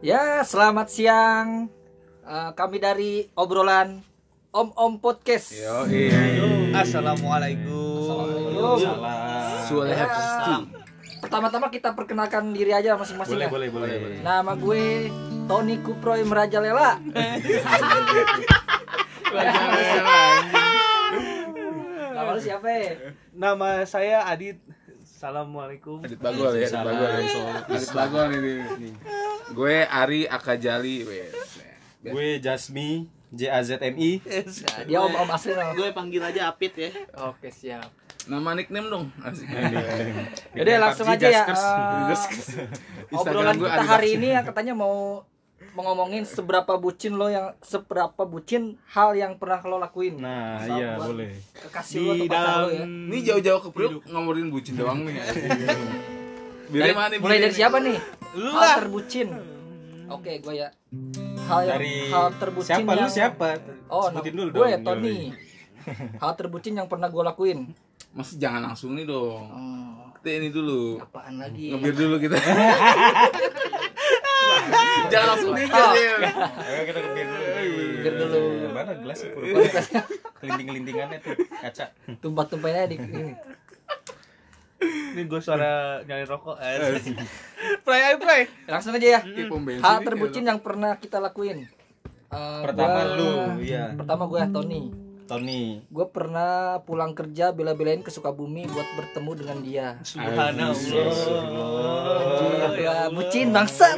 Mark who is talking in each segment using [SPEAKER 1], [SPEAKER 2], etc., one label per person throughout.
[SPEAKER 1] Ya, selamat siang. Eh, kami dari obrolan Om Om Podcast.
[SPEAKER 2] Assalamualaikum.
[SPEAKER 1] Ya. Waalaikumsalam. Pertama-tama kita perkenalkan diri aja masing-masing. Boleh, boleh, boleh, Nama gue Tony Kuproy Merajalela. Nama lu siapa? ya?
[SPEAKER 2] Nama saya Adit. Assalamualaikum.
[SPEAKER 3] Adit Bagol ya, Adit Bagol. Adit Bagol ini. Gue Ari Akajali, wes.
[SPEAKER 4] Gue Jasmi J A Z M I.
[SPEAKER 1] Nah, dia Om Om asli nama.
[SPEAKER 5] gue panggil aja Apit ya
[SPEAKER 1] Oke, siap.
[SPEAKER 3] Nama nickname dong. Asik.
[SPEAKER 1] Yaudah langsung aja ya. eh,
[SPEAKER 3] Instagram
[SPEAKER 1] obrolan
[SPEAKER 3] gue
[SPEAKER 1] kita
[SPEAKER 3] Adi
[SPEAKER 1] hari ini ya katanya mau mau ngomongin seberapa bucin lo yang seberapa bucin hal yang pernah lo lakuin.
[SPEAKER 4] Nah,
[SPEAKER 1] Sama
[SPEAKER 4] iya
[SPEAKER 1] buat
[SPEAKER 4] boleh.
[SPEAKER 1] Kekasih lo
[SPEAKER 2] Di
[SPEAKER 1] atau pacar lo ya.
[SPEAKER 2] dalam
[SPEAKER 3] Ini jauh-jauh ke Priuk ngomongin bucin doang nih. asik.
[SPEAKER 1] Iya. Dari,
[SPEAKER 3] Dari mana nih,
[SPEAKER 1] mulai
[SPEAKER 3] Birin
[SPEAKER 1] dari
[SPEAKER 3] nih?
[SPEAKER 1] siapa nih?
[SPEAKER 2] Lu
[SPEAKER 1] hal
[SPEAKER 2] lah.
[SPEAKER 1] terbucin. Oke, gue ya. Hal yang-
[SPEAKER 4] Dari
[SPEAKER 1] hal terbucin
[SPEAKER 4] siapa lu
[SPEAKER 1] yang-
[SPEAKER 4] siapa?
[SPEAKER 1] Oh,
[SPEAKER 4] Sebutin
[SPEAKER 1] nama-
[SPEAKER 4] dulu
[SPEAKER 1] gue
[SPEAKER 4] dong.
[SPEAKER 1] Tony. hal terbucin yang pernah gue lakuin.
[SPEAKER 3] Mas jangan langsung nih dong.
[SPEAKER 1] Hmm,
[SPEAKER 3] Kita ini dulu.
[SPEAKER 1] apaan lagi?
[SPEAKER 3] Ngebir dulu kita. jangan langsung nikah
[SPEAKER 1] Oh.
[SPEAKER 3] ya.
[SPEAKER 4] Ayo kita kepir dulu.
[SPEAKER 1] Iya, Kepir dulu.
[SPEAKER 4] Mana gelas
[SPEAKER 1] Iya,
[SPEAKER 4] kurang. Kelinting-kelintingannya tuh kaca.
[SPEAKER 1] Tumpah-tumpahin aja di ini.
[SPEAKER 2] ini gue suara nyalain rokok. asik. Pray ayo pray.
[SPEAKER 1] Langsung aja ya.
[SPEAKER 3] Kayak pom bensin
[SPEAKER 1] Hal
[SPEAKER 3] nih,
[SPEAKER 1] terbucin yang pernah kita lakuin. Eh,
[SPEAKER 4] Pertama
[SPEAKER 1] gua-
[SPEAKER 4] lu, iya.
[SPEAKER 1] Pertama gue Tony.
[SPEAKER 4] Tony.
[SPEAKER 1] Gue pernah pulang kerja bela-belain ke Sukabumi buat bertemu dengan dia.
[SPEAKER 2] Subhanallah.
[SPEAKER 1] Gua Ya, bucin bangsat.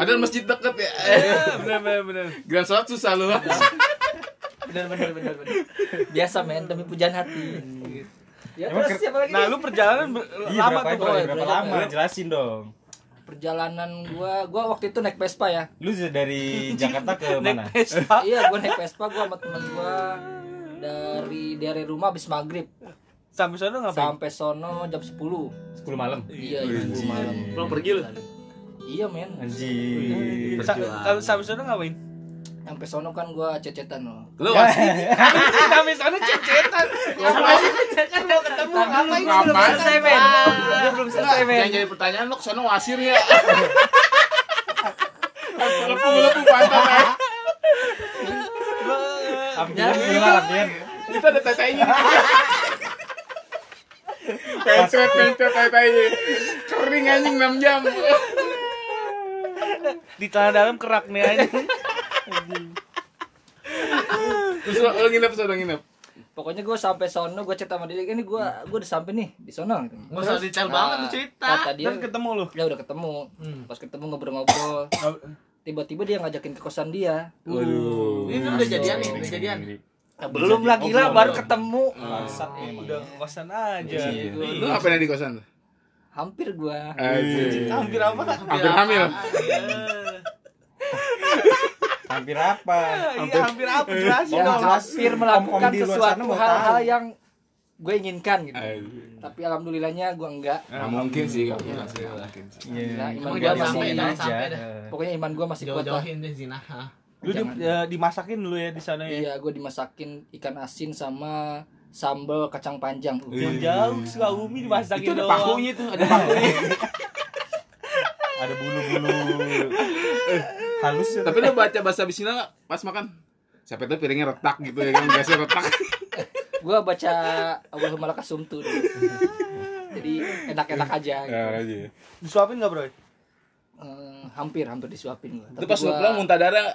[SPEAKER 3] Padahal masjid deket ya.
[SPEAKER 1] Iya.
[SPEAKER 2] Bener bener bener.
[SPEAKER 3] Grand sholat susah
[SPEAKER 2] Iya.
[SPEAKER 3] lu.
[SPEAKER 1] Bener bener bener bener. Biasa men demi pujaan hati. Ya terus siapa lagi?
[SPEAKER 2] Nah lu perjalanan ber-
[SPEAKER 4] Iya,
[SPEAKER 2] lama
[SPEAKER 4] berapa
[SPEAKER 2] tuh
[SPEAKER 4] itu?
[SPEAKER 2] Bro.
[SPEAKER 1] Boy?
[SPEAKER 4] Berapa
[SPEAKER 1] Berapa?
[SPEAKER 4] lama? Jelasin dong.
[SPEAKER 1] Perjalanan gua, gua waktu itu naik Vespa ya.
[SPEAKER 4] Lu dari Jakarta ke mana?
[SPEAKER 2] Naik Vespa.
[SPEAKER 1] Iya, gua naik Vespa gua sama temen gua dari dari rumah habis maghrib
[SPEAKER 2] Sampai sana ngapain?
[SPEAKER 1] sampai sono jam 10
[SPEAKER 4] 10 malam.
[SPEAKER 1] iya jam 10 malam
[SPEAKER 5] belum pergi lu
[SPEAKER 1] iya men
[SPEAKER 4] Anjir.
[SPEAKER 2] Sa- kalau Sampai sana ngapain?
[SPEAKER 1] sampai sono kan gua cecetan loh
[SPEAKER 3] Lu
[SPEAKER 2] Iya.
[SPEAKER 3] pasti
[SPEAKER 2] Sampai sana cecetan. Kan mau ketemu ngapain?
[SPEAKER 3] Ngapain? Iya.
[SPEAKER 2] Belum selesai men. Dia Iya. belum selesai men.
[SPEAKER 3] Yang jadi pertanyaan lo kesana wasir ya? lepu lepu pantat ya.
[SPEAKER 4] Abdian
[SPEAKER 1] Iya.
[SPEAKER 4] keluar Abdian.
[SPEAKER 3] Kita ada tetainya. Pencet pencet tetainya. Kering anjing 6 jam.
[SPEAKER 2] Di tanah dalam kerak nih anjing.
[SPEAKER 3] Terus lo, lo nginep sono nginep.
[SPEAKER 1] pokoknya gue sampai sono gue cerita sama dia ini gue gue udah sampai nih di sono gitu.
[SPEAKER 3] Nggak usah detail
[SPEAKER 5] banget tuh cerita. Hmm.
[SPEAKER 1] kata dia
[SPEAKER 2] Dan Kan ketemu lu.
[SPEAKER 1] ya udah ketemu pas ketemu ngobrol-ngobrol tiba-tiba dia ngajakin ke kosan dia
[SPEAKER 3] Waduh.
[SPEAKER 5] ini udah jadian nih udah jadian
[SPEAKER 1] Nah, belum lah gila baru ketemu
[SPEAKER 5] Ah.
[SPEAKER 2] Bangsat emang. Udah ke kosan aja. Iya.
[SPEAKER 3] Lo ngapain ada di kosan?
[SPEAKER 1] hampir gua
[SPEAKER 3] Asik.
[SPEAKER 2] Iya, Hampir apa?
[SPEAKER 3] Hampir hamil.
[SPEAKER 4] Hampir apa?
[SPEAKER 2] Iya, hampir apa jelasin
[SPEAKER 1] ya
[SPEAKER 2] dong.
[SPEAKER 1] hampir melakukan
[SPEAKER 4] Om-om di luar sana
[SPEAKER 1] sesuatu
[SPEAKER 4] mau
[SPEAKER 1] hal-hal
[SPEAKER 4] tahu.
[SPEAKER 1] yang gue inginkan
[SPEAKER 2] Iya.
[SPEAKER 1] gitu
[SPEAKER 3] Asik.
[SPEAKER 1] tapi alhamdulillahnya gua enggak
[SPEAKER 3] Nah, mungkin sih gak mungkin.
[SPEAKER 1] Gila,
[SPEAKER 4] Iya.
[SPEAKER 1] iman
[SPEAKER 5] Emang
[SPEAKER 1] gua
[SPEAKER 5] jangan
[SPEAKER 1] masih
[SPEAKER 5] sampai, jangan sampai dah.
[SPEAKER 1] pokoknya iman gua masih kuat lah
[SPEAKER 5] jauh-jauhin deh zina ha.
[SPEAKER 2] Lu di,
[SPEAKER 1] Jangan.
[SPEAKER 2] ya, dimasakin dulu ya di sana ya.
[SPEAKER 1] iya gua dimasakin ikan asin sama sambal kacang panjang
[SPEAKER 5] Iya.
[SPEAKER 2] Jauh-jauh Sukabumi dimasakin
[SPEAKER 3] Itu ada
[SPEAKER 2] doang.
[SPEAKER 3] pakunya tuh, ada pakunya.
[SPEAKER 4] Ada bulu-bulu. Halus
[SPEAKER 2] Iya.
[SPEAKER 4] ya.
[SPEAKER 3] Tapi lo baca bahasa Bismillah nggak pas makan? Siapa itu piringnya retak gitu ya kan biasanya retak.
[SPEAKER 1] gua baca Allahumma laka sumtu dulu. jadi enak-enak aja gitu.
[SPEAKER 3] aja.
[SPEAKER 2] Disuapin enggak, Bro?
[SPEAKER 1] Eh, hampir hampir disuapin gua
[SPEAKER 3] Itu
[SPEAKER 1] Tapi
[SPEAKER 3] pas lo
[SPEAKER 1] gua-
[SPEAKER 3] pulang muntah darah.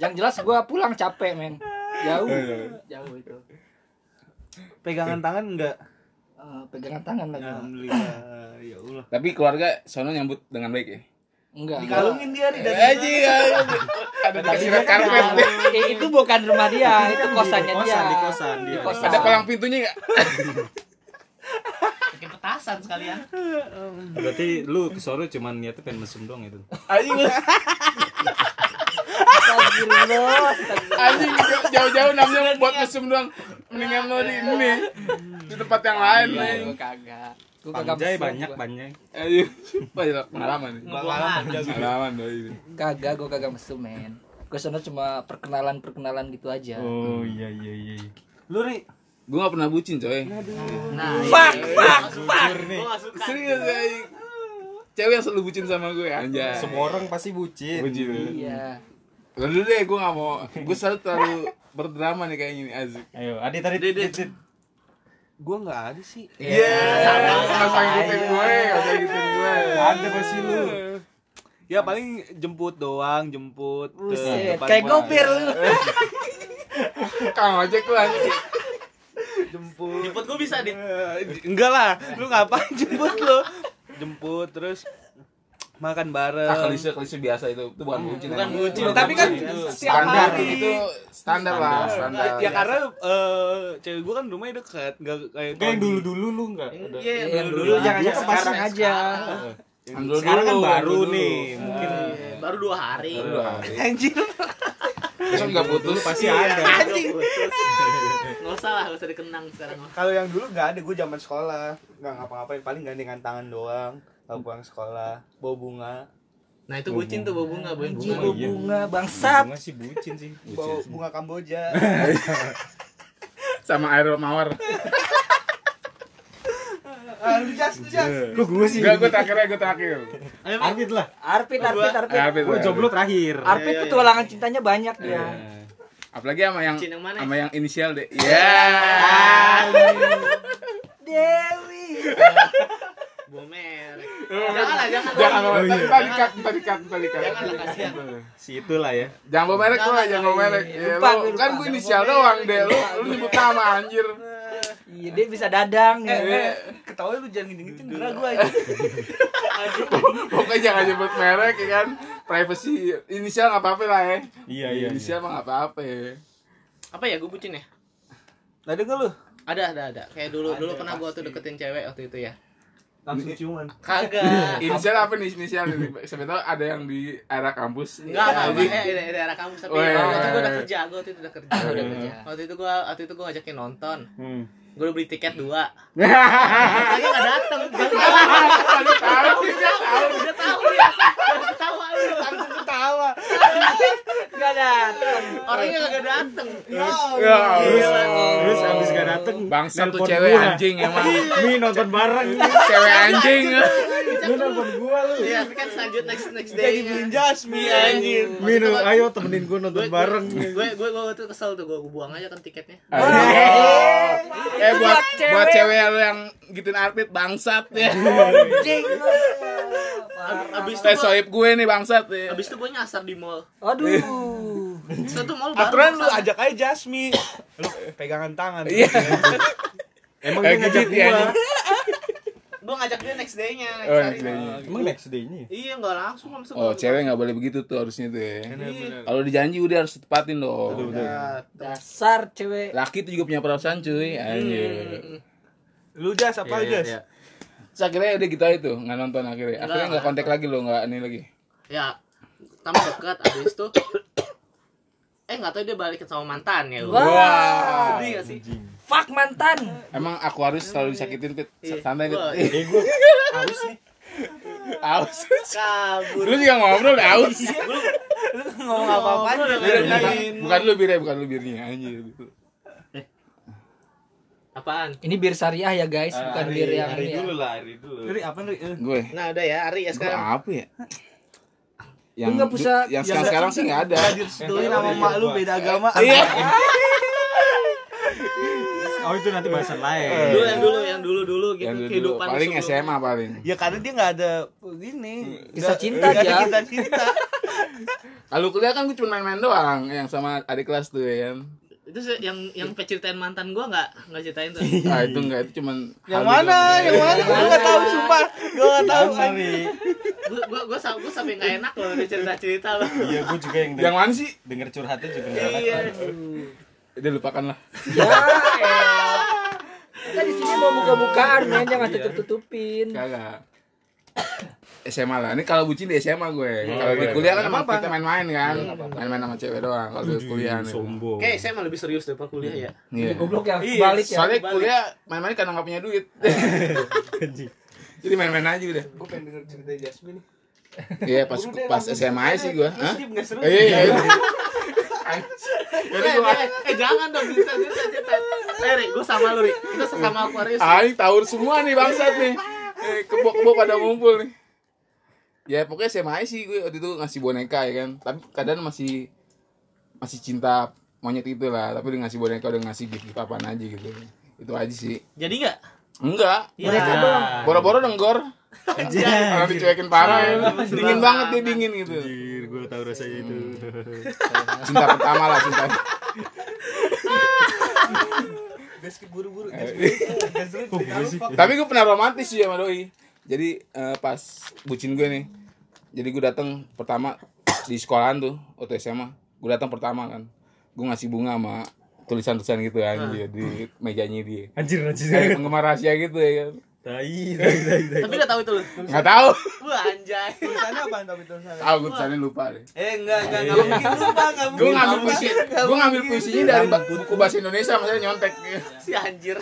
[SPEAKER 1] yang jelas gua pulang capek men jauh jauh itu
[SPEAKER 2] Pegangan tangan enggak?
[SPEAKER 1] Eh, pegangan tangan lagi
[SPEAKER 2] Alhamdulillah. Ya Allah.
[SPEAKER 3] Tapi keluarga sono nyambut dengan baik ya.
[SPEAKER 1] enggak
[SPEAKER 2] Dikalungin dia nih dari
[SPEAKER 3] Aji ada dikasih red carpet.
[SPEAKER 1] Eh, itu bukan rumah dia itu kosannya
[SPEAKER 4] kan Di
[SPEAKER 1] dia
[SPEAKER 4] kosan, di kosan dia.
[SPEAKER 1] Di kosan.
[SPEAKER 3] Ada palang pintunya nggak?
[SPEAKER 5] bikin petasan sekalian
[SPEAKER 4] Berarti lu ke Solo cuman niatnya pengen mesum doang itu.
[SPEAKER 3] Aji
[SPEAKER 1] Astagfirullah, astagfirullah.
[SPEAKER 3] aji jauh-jauh namanya buat mesum doang. Mendingan lo di ini di tempat yang lain. Aji.
[SPEAKER 1] Gua kagak Gua kagak
[SPEAKER 4] Panjai
[SPEAKER 1] mesum,
[SPEAKER 4] banyak
[SPEAKER 1] gua.
[SPEAKER 4] banyak.
[SPEAKER 3] Aji, Pak, pengalaman nih.
[SPEAKER 5] ngebuangan
[SPEAKER 3] Pengalaman lo ini.
[SPEAKER 1] kagak gua kagak mesum men gua sana cuma perkenalan perkenalan gitu aja
[SPEAKER 4] Oh iya iya iya.
[SPEAKER 2] Lu ri.
[SPEAKER 3] Gue gak pernah bucin coy.
[SPEAKER 5] nah
[SPEAKER 1] Fuck,
[SPEAKER 5] fuck fuck
[SPEAKER 4] Jujur nih.
[SPEAKER 5] gue gak suka
[SPEAKER 3] Serius aji. cewek yang selalu bucin sama gue anjay
[SPEAKER 4] Semua orang pasti bucin.
[SPEAKER 3] bucin
[SPEAKER 1] Iya.
[SPEAKER 3] Lalu deh gue gak mau Gue selalu terlalu berdrama nih kayaknya nih Azik
[SPEAKER 4] Ayo, Adi tadi Dit, Dit.
[SPEAKER 2] Gue nggak ada sih.
[SPEAKER 3] Iya Gak usah ngikutin gue Gak usah ngikutin gue
[SPEAKER 4] Ada pasti lu.
[SPEAKER 2] Ya paling jemput doang, jemput. ke
[SPEAKER 1] Buset,
[SPEAKER 2] depan
[SPEAKER 1] kayak
[SPEAKER 2] rumah.
[SPEAKER 1] gopir lu.
[SPEAKER 3] Kang ojek lu aja
[SPEAKER 2] Jemput.
[SPEAKER 5] Jemput gue bisa, Dit.
[SPEAKER 2] Enggak lah, lu ngapain jemput lu? Jemput terus makan bareng.
[SPEAKER 4] Ah, klise klise biasa itu. Itu bukan bucin.
[SPEAKER 3] iya.
[SPEAKER 5] Bukan
[SPEAKER 4] emang.
[SPEAKER 5] bucin.
[SPEAKER 2] Tapi kan
[SPEAKER 4] Iya.
[SPEAKER 2] setiap
[SPEAKER 3] Standar
[SPEAKER 2] hari
[SPEAKER 3] itu Standar lah Standar
[SPEAKER 2] Ya karena eh, cewek gue kan rumahnya dekat, nggak kayak
[SPEAKER 4] Kayak yang dulu-dulu lu enggak ada.
[SPEAKER 5] Iya,
[SPEAKER 1] Iya, yang
[SPEAKER 5] dulu-dulu
[SPEAKER 1] dulu jangan
[SPEAKER 4] kan
[SPEAKER 5] aja.
[SPEAKER 1] yang sekarang aja.
[SPEAKER 3] Dulu-dulu,
[SPEAKER 2] Sekarang kan baru
[SPEAKER 3] dulu-dulu.
[SPEAKER 2] nih, mungkin
[SPEAKER 5] Iya, Baru dua hari.
[SPEAKER 2] anjir.
[SPEAKER 3] Besok gak putus
[SPEAKER 4] Pasti ada.
[SPEAKER 5] Anjing. Nggak usah lah, nggak usah dikenang sekarang.
[SPEAKER 6] Kalau yang dulu nggak ada, gue zaman sekolah nggak ngapa-ngapain, paling gandengan tangan doang. Kalau pulang sekolah, bawa bunga,
[SPEAKER 5] Nah itu bucin tuh bawa bunga, bawain
[SPEAKER 1] Anjing
[SPEAKER 5] bunga.
[SPEAKER 1] lu bunga bangsat.
[SPEAKER 4] Masih bucin sih.
[SPEAKER 6] bawa bunga Kamboja.
[SPEAKER 3] Sama Aero Mawar
[SPEAKER 6] ah, lu jas, lu jas.
[SPEAKER 4] Lu gue sih.
[SPEAKER 3] Enggak gue Iya. terakhir ya gue terakhir
[SPEAKER 5] Ayo, Bang.
[SPEAKER 4] Arvid lah.
[SPEAKER 1] Arpit, Arpit, Arpit.
[SPEAKER 3] Arpit
[SPEAKER 4] Gue jomblo terakhir.
[SPEAKER 1] Arpit petualangan cintanya banyak dia.
[SPEAKER 3] Iya. Apalagi sama yang
[SPEAKER 5] Bucin yang mana?
[SPEAKER 3] Sama yang inisial deh
[SPEAKER 4] Ah.
[SPEAKER 3] Iya
[SPEAKER 1] Dewi.
[SPEAKER 5] Bawa merek. Eh, Jangan lah, jangan.
[SPEAKER 3] Jangan
[SPEAKER 5] lah.
[SPEAKER 3] bawa merek Tadi cut, tadi cut, tadi cut
[SPEAKER 5] Oh, iya. Jangan lah, kasihan.
[SPEAKER 4] Si itulah ya.
[SPEAKER 3] Jangan bawa merek lu lah, jangan bawa merek Ya,
[SPEAKER 1] Lupa,
[SPEAKER 3] lu-
[SPEAKER 1] gue lupa.
[SPEAKER 3] Kan gue inisial doang deh Lu lu nyebut nama anjir Iya.
[SPEAKER 1] Iya, dia bisa dadang ya.
[SPEAKER 3] Eh,
[SPEAKER 2] Ketawa lu jangan ngingin gerak gue.
[SPEAKER 3] Pokoknya jangan nyebut merek ya kan Privacy Inisial gak apa-apa lah ya
[SPEAKER 4] Iya, iya,
[SPEAKER 3] Inisial mah gak apa-apa ya
[SPEAKER 5] Apa ya, gue bucin ya?
[SPEAKER 2] Ada nggak lu?
[SPEAKER 5] Ada, ada, ada. Kayak dulu, dulu pernah gue tuh deketin cewek waktu itu ya.
[SPEAKER 2] Langsung ciuman.
[SPEAKER 5] Kagak.
[SPEAKER 3] Inisial apa nih inisial ini? Sebetulnya ada yang di area kampus
[SPEAKER 5] Enggak, enggak, enggak, eh, dari daerah kampus tapi
[SPEAKER 3] Weh.
[SPEAKER 5] waktu itu gue udah kerja, gue waktu itu udah kerja.
[SPEAKER 1] Udah kerja.
[SPEAKER 5] Waktu itu gue, waktu itu gue ngajakin nonton,
[SPEAKER 4] Hmm.
[SPEAKER 5] gue udah beli tiket dua. Lagi nggak dateng, Dia ketawa,
[SPEAKER 3] Aduh, tahu juga.
[SPEAKER 5] udah tahu dia, Dia ketawa lu.
[SPEAKER 2] Ketawa.
[SPEAKER 1] Enggak datang.
[SPEAKER 5] Orangnya nggak dateng. Oh,
[SPEAKER 3] Ya,
[SPEAKER 4] Terus,
[SPEAKER 3] Allah.
[SPEAKER 4] terus abis gak dateng
[SPEAKER 3] Bangsa tuh
[SPEAKER 4] nelpon
[SPEAKER 3] cewek
[SPEAKER 4] gua.
[SPEAKER 3] anjing emang.
[SPEAKER 4] Mi nonton bareng
[SPEAKER 3] Cewek anjing.
[SPEAKER 4] Lu nelpon gua lu
[SPEAKER 5] Iya, tapi kan selanjut next next
[SPEAKER 2] Kayak
[SPEAKER 5] day.
[SPEAKER 2] dibeliin jasmi anjir.
[SPEAKER 4] Mi nu- ayo temenin gua
[SPEAKER 5] Gue
[SPEAKER 4] nonton
[SPEAKER 5] bareng.
[SPEAKER 4] bareng
[SPEAKER 5] Gue gue gue tuh kesel tuh gue buang aja kan tiketnya.
[SPEAKER 3] Ah, iya. Eh
[SPEAKER 1] Itu
[SPEAKER 3] buat
[SPEAKER 1] buat
[SPEAKER 3] buat
[SPEAKER 1] cewek.
[SPEAKER 3] cewek lu yang gituin Arpit bangsat ya.
[SPEAKER 1] Anjing. lu.
[SPEAKER 5] Abis
[SPEAKER 3] Eh
[SPEAKER 5] itu gue,
[SPEAKER 3] soib gue nih bangsat ya.
[SPEAKER 5] abis itu gue nyasar di mall.
[SPEAKER 1] Aduh.
[SPEAKER 5] Suatu mall baru.
[SPEAKER 2] Aturan lu
[SPEAKER 5] kesana.
[SPEAKER 2] ajak aja Jasmi. Lu pegangan tangan.
[SPEAKER 3] Iya.
[SPEAKER 4] Emang
[SPEAKER 3] Eh,
[SPEAKER 4] dia ngajak
[SPEAKER 3] gitu dia
[SPEAKER 4] gua
[SPEAKER 3] anjing.
[SPEAKER 5] Gue ngajak dia next day-nya. next
[SPEAKER 3] Oh,
[SPEAKER 5] hari.
[SPEAKER 3] next day-nya.
[SPEAKER 4] Emang next day nya
[SPEAKER 5] Iya, nggak langsung langsung.
[SPEAKER 3] Oh, cewek nggak boleh begitu tuh harusnya tuh ya.
[SPEAKER 5] Iya.
[SPEAKER 3] Kalau dijanji udah harus tepatin dong.
[SPEAKER 1] Dasar cewek.
[SPEAKER 3] Laki tuh juga punya perasaan cuy. Anjir.
[SPEAKER 2] Lu jas apa jas?
[SPEAKER 3] Terus akhirnya udah gitu aja tuh, nggak nonton akhirnya. Akhirnya
[SPEAKER 5] Nggak,
[SPEAKER 3] nggak kontak lagi lo, nggak ini lagi.
[SPEAKER 5] ya tambah dekat abis itu eh nggak tahu dia balikin sama mantan ya lu
[SPEAKER 1] Wah.
[SPEAKER 5] sedih gak sih
[SPEAKER 1] Fuck mantan.
[SPEAKER 3] Emang aku harus selalu disakitin pit.
[SPEAKER 5] Iya.
[SPEAKER 3] Santai pit.
[SPEAKER 5] Wah.
[SPEAKER 3] Ih,
[SPEAKER 4] Harus nih
[SPEAKER 3] Aus.
[SPEAKER 5] kabur
[SPEAKER 3] Lu juga ngobrol udah aus.
[SPEAKER 2] Ngomong apa-apa aja.
[SPEAKER 5] Lu udah
[SPEAKER 3] Bukan lu bire, bukan lu birnya anjir.
[SPEAKER 5] apaan
[SPEAKER 1] Ini bir syariah ya guys, bukan bir yang
[SPEAKER 4] Hari
[SPEAKER 1] ini. ya.
[SPEAKER 4] dulu lah hari dulu
[SPEAKER 2] Ri, apa Ri? Eh.
[SPEAKER 3] Gue.
[SPEAKER 5] nah udah ya Ari ya
[SPEAKER 3] Gue
[SPEAKER 5] sekarang
[SPEAKER 3] apa ya? Yang
[SPEAKER 1] nggak bisa-
[SPEAKER 3] yang sekarang sekarang sih nggak ada.
[SPEAKER 2] Doi sama mak lu beda agama.
[SPEAKER 3] Iya.
[SPEAKER 4] Oh itu nanti bahasan
[SPEAKER 5] dulu
[SPEAKER 4] lain
[SPEAKER 5] yang dulu yang dulu dulu gitu
[SPEAKER 3] Yang dulu
[SPEAKER 5] kehidupan
[SPEAKER 3] paling
[SPEAKER 5] sebelum-
[SPEAKER 3] SMA paling.
[SPEAKER 2] Ya karena dia nggak ada gini.
[SPEAKER 1] Kisah cinta
[SPEAKER 2] Nggak ada
[SPEAKER 1] dia.
[SPEAKER 2] Kisah cinta.
[SPEAKER 3] Kalau kuliah kan gue cuma main-main doang yang sama adik kelas tuh ya kan.
[SPEAKER 5] itu sih yang yang ceritain mantan gua nggak nggak ceritain tuh
[SPEAKER 3] Ah itu enggak itu cuman
[SPEAKER 2] Yang mana? Yang mana? Gue nggak tahu sumpah. Gue nggak tahu.
[SPEAKER 4] Hari
[SPEAKER 5] gua gua gua, sa- gua sampai nggak enak loh dari cerita cerita loh
[SPEAKER 4] Iya gua juga yang
[SPEAKER 3] Yang
[SPEAKER 4] denger,
[SPEAKER 3] mana sih?
[SPEAKER 4] denger curhatnya juga nggak enak.
[SPEAKER 5] iya
[SPEAKER 3] Udah lupakan lah.
[SPEAKER 1] Kita di sini mau buka-bukaan men, jangan tutup-tutupin.
[SPEAKER 3] Kagak. SMA lah. Ini kalau bucin di SMA gue.
[SPEAKER 2] Oh,
[SPEAKER 3] Kalau
[SPEAKER 2] iya,
[SPEAKER 3] di kuliah kan emang kita main-main kan. Main-main sama cewek doang kalau di kuliah nih.
[SPEAKER 4] Sombong
[SPEAKER 5] kayak saya lebih serius daripada kuliah ya
[SPEAKER 3] Iya.
[SPEAKER 1] Goblok ya, balik ya.
[SPEAKER 3] Soalnya kuliah main-main karena nggak punya duit. Jadi main-main aja udah.
[SPEAKER 6] Gue pengen denger cerita Jasmine.
[SPEAKER 3] Iya pas pas SMA aja sih gua. Hah?
[SPEAKER 6] Skip nggak seru.
[SPEAKER 4] Eh,
[SPEAKER 3] Iya iya. iya. Jadi
[SPEAKER 5] Eh,
[SPEAKER 3] gua
[SPEAKER 5] eh, eh, jangan dong cerita cerita cerita eh Ri, gua sama lu Ri kita sama Aquarius
[SPEAKER 3] ah ini tahun semua nih bangsat nih. Eh, Kebo-kebo pada ngumpul nih. ya pokoknya SMA aja sih gue waktu itu ngasih boneka ya kan tapi kadang masih masih cinta monyet itu lah tapi udah ngasih boneka udah ngasih gift gift apaan aja gitu itu aja sih
[SPEAKER 2] Jadi nggak?
[SPEAKER 3] enggak
[SPEAKER 4] Iya.
[SPEAKER 1] Mereka doang.
[SPEAKER 3] boro-boro denggor Karena dicuekin parah ya. Dingin banget dia dingin gitu
[SPEAKER 4] Anjir, gue tahu rasanya itu.
[SPEAKER 3] Cinta pertama lah cinta
[SPEAKER 6] Gas keburu-buru.
[SPEAKER 3] Tapi gue pernah romantis sih sama doi Jadi eh, pas bucin gue nih Jadi gue datang pertama di sekolahan tuh Waktu SMA Gue datang pertama kan Gue ngasih bunga sama tulisan-tulisan gitu aja dia di mejanya dia
[SPEAKER 4] Anjir, anjir.
[SPEAKER 3] kayak penggemar rahasia gitu ya kan
[SPEAKER 4] Tai, tai, tai, tai.
[SPEAKER 5] Tapi udah tahu itu lu.
[SPEAKER 3] nggak tahu
[SPEAKER 5] Wah anjay.
[SPEAKER 6] Tulisannya apaan tapi tulisannya?
[SPEAKER 3] tahu gue tulisannya lupa deh
[SPEAKER 6] Eh enggak enggak enggak mungkin lupa enggak
[SPEAKER 3] gue
[SPEAKER 6] mungkin.
[SPEAKER 3] ngambil
[SPEAKER 6] lupa.
[SPEAKER 3] puisi gue ngambil puisinya dari ba- buku bahasa Indonesia maksudnya nyontek
[SPEAKER 5] Si anjir.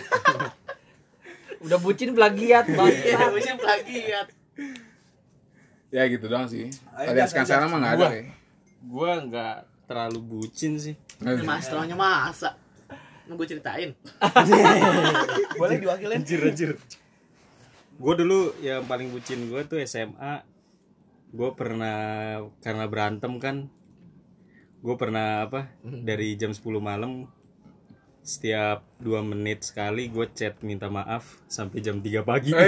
[SPEAKER 1] Udah bucin plagiat
[SPEAKER 5] Iya,
[SPEAKER 1] banget.
[SPEAKER 5] masih plagiat.
[SPEAKER 3] ya gitu doang sih
[SPEAKER 6] Ayo,
[SPEAKER 3] kalau yang sekarang sekarang mah nggak ada
[SPEAKER 4] Gua.
[SPEAKER 3] ya
[SPEAKER 4] Gua nggak terlalu bucin sih.
[SPEAKER 3] Nggak ada.
[SPEAKER 5] Mas terangnya masa. Mau gue ceritain.
[SPEAKER 6] Boleh diwakilin?
[SPEAKER 4] Anjir, anjir. Gue dulu yang paling bucin gue tuh SMA. Gue pernah karena berantem kan. Gue pernah apa? Dari jam 10 malam setiap dua menit sekali gue chat minta maaf sampai jam 3 pagi.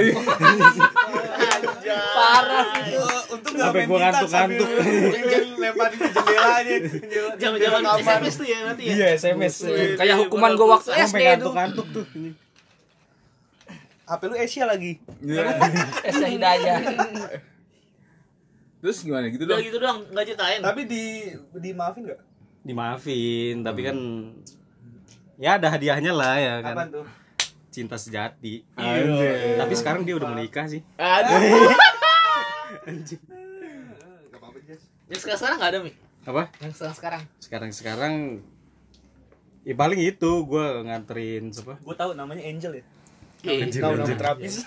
[SPEAKER 1] Parah sih itu.
[SPEAKER 6] Eh, Untung enggak
[SPEAKER 4] Sampai
[SPEAKER 6] main
[SPEAKER 4] gua
[SPEAKER 6] gitar
[SPEAKER 4] ngantuk-ngantuk.
[SPEAKER 6] sambil yang lemparin ke jendela aja. Jendela-
[SPEAKER 5] Zaman-zaman
[SPEAKER 6] jendela kamar.
[SPEAKER 5] SMS tuh ya nanti ya. Iya,
[SPEAKER 4] Iya, SMS.
[SPEAKER 1] Kayak hukuman gue waktu SD
[SPEAKER 4] Sampai
[SPEAKER 1] itu.
[SPEAKER 4] ngantuk-ngantuk tuh.
[SPEAKER 6] HP lu Asia lagi.
[SPEAKER 3] Iya.
[SPEAKER 1] Esa Hidayah.
[SPEAKER 3] terus gimana gitu
[SPEAKER 5] Udah
[SPEAKER 3] dong
[SPEAKER 5] gitu doang, enggak ceritain.
[SPEAKER 6] Tapi di dimaafin enggak?
[SPEAKER 4] Dimaafin, tapi kan ya ada hadiahnya lah ya kan.
[SPEAKER 6] Apaan tuh?
[SPEAKER 4] Cinta sejati.
[SPEAKER 3] Anjir.
[SPEAKER 4] Tapi sekarang dia udah menikah sih.
[SPEAKER 6] Enggak apa-apa, Jas.
[SPEAKER 5] Yang sekarang-sekarang enggak ada, Mi.
[SPEAKER 4] Apa?
[SPEAKER 5] Yang sekarang-sekarang.
[SPEAKER 4] Sekarang-sekarang ya paling itu gua nganterin siapa?
[SPEAKER 6] Gua tahu namanya Angel ya.
[SPEAKER 5] Iya.
[SPEAKER 6] Tahu nama terapis.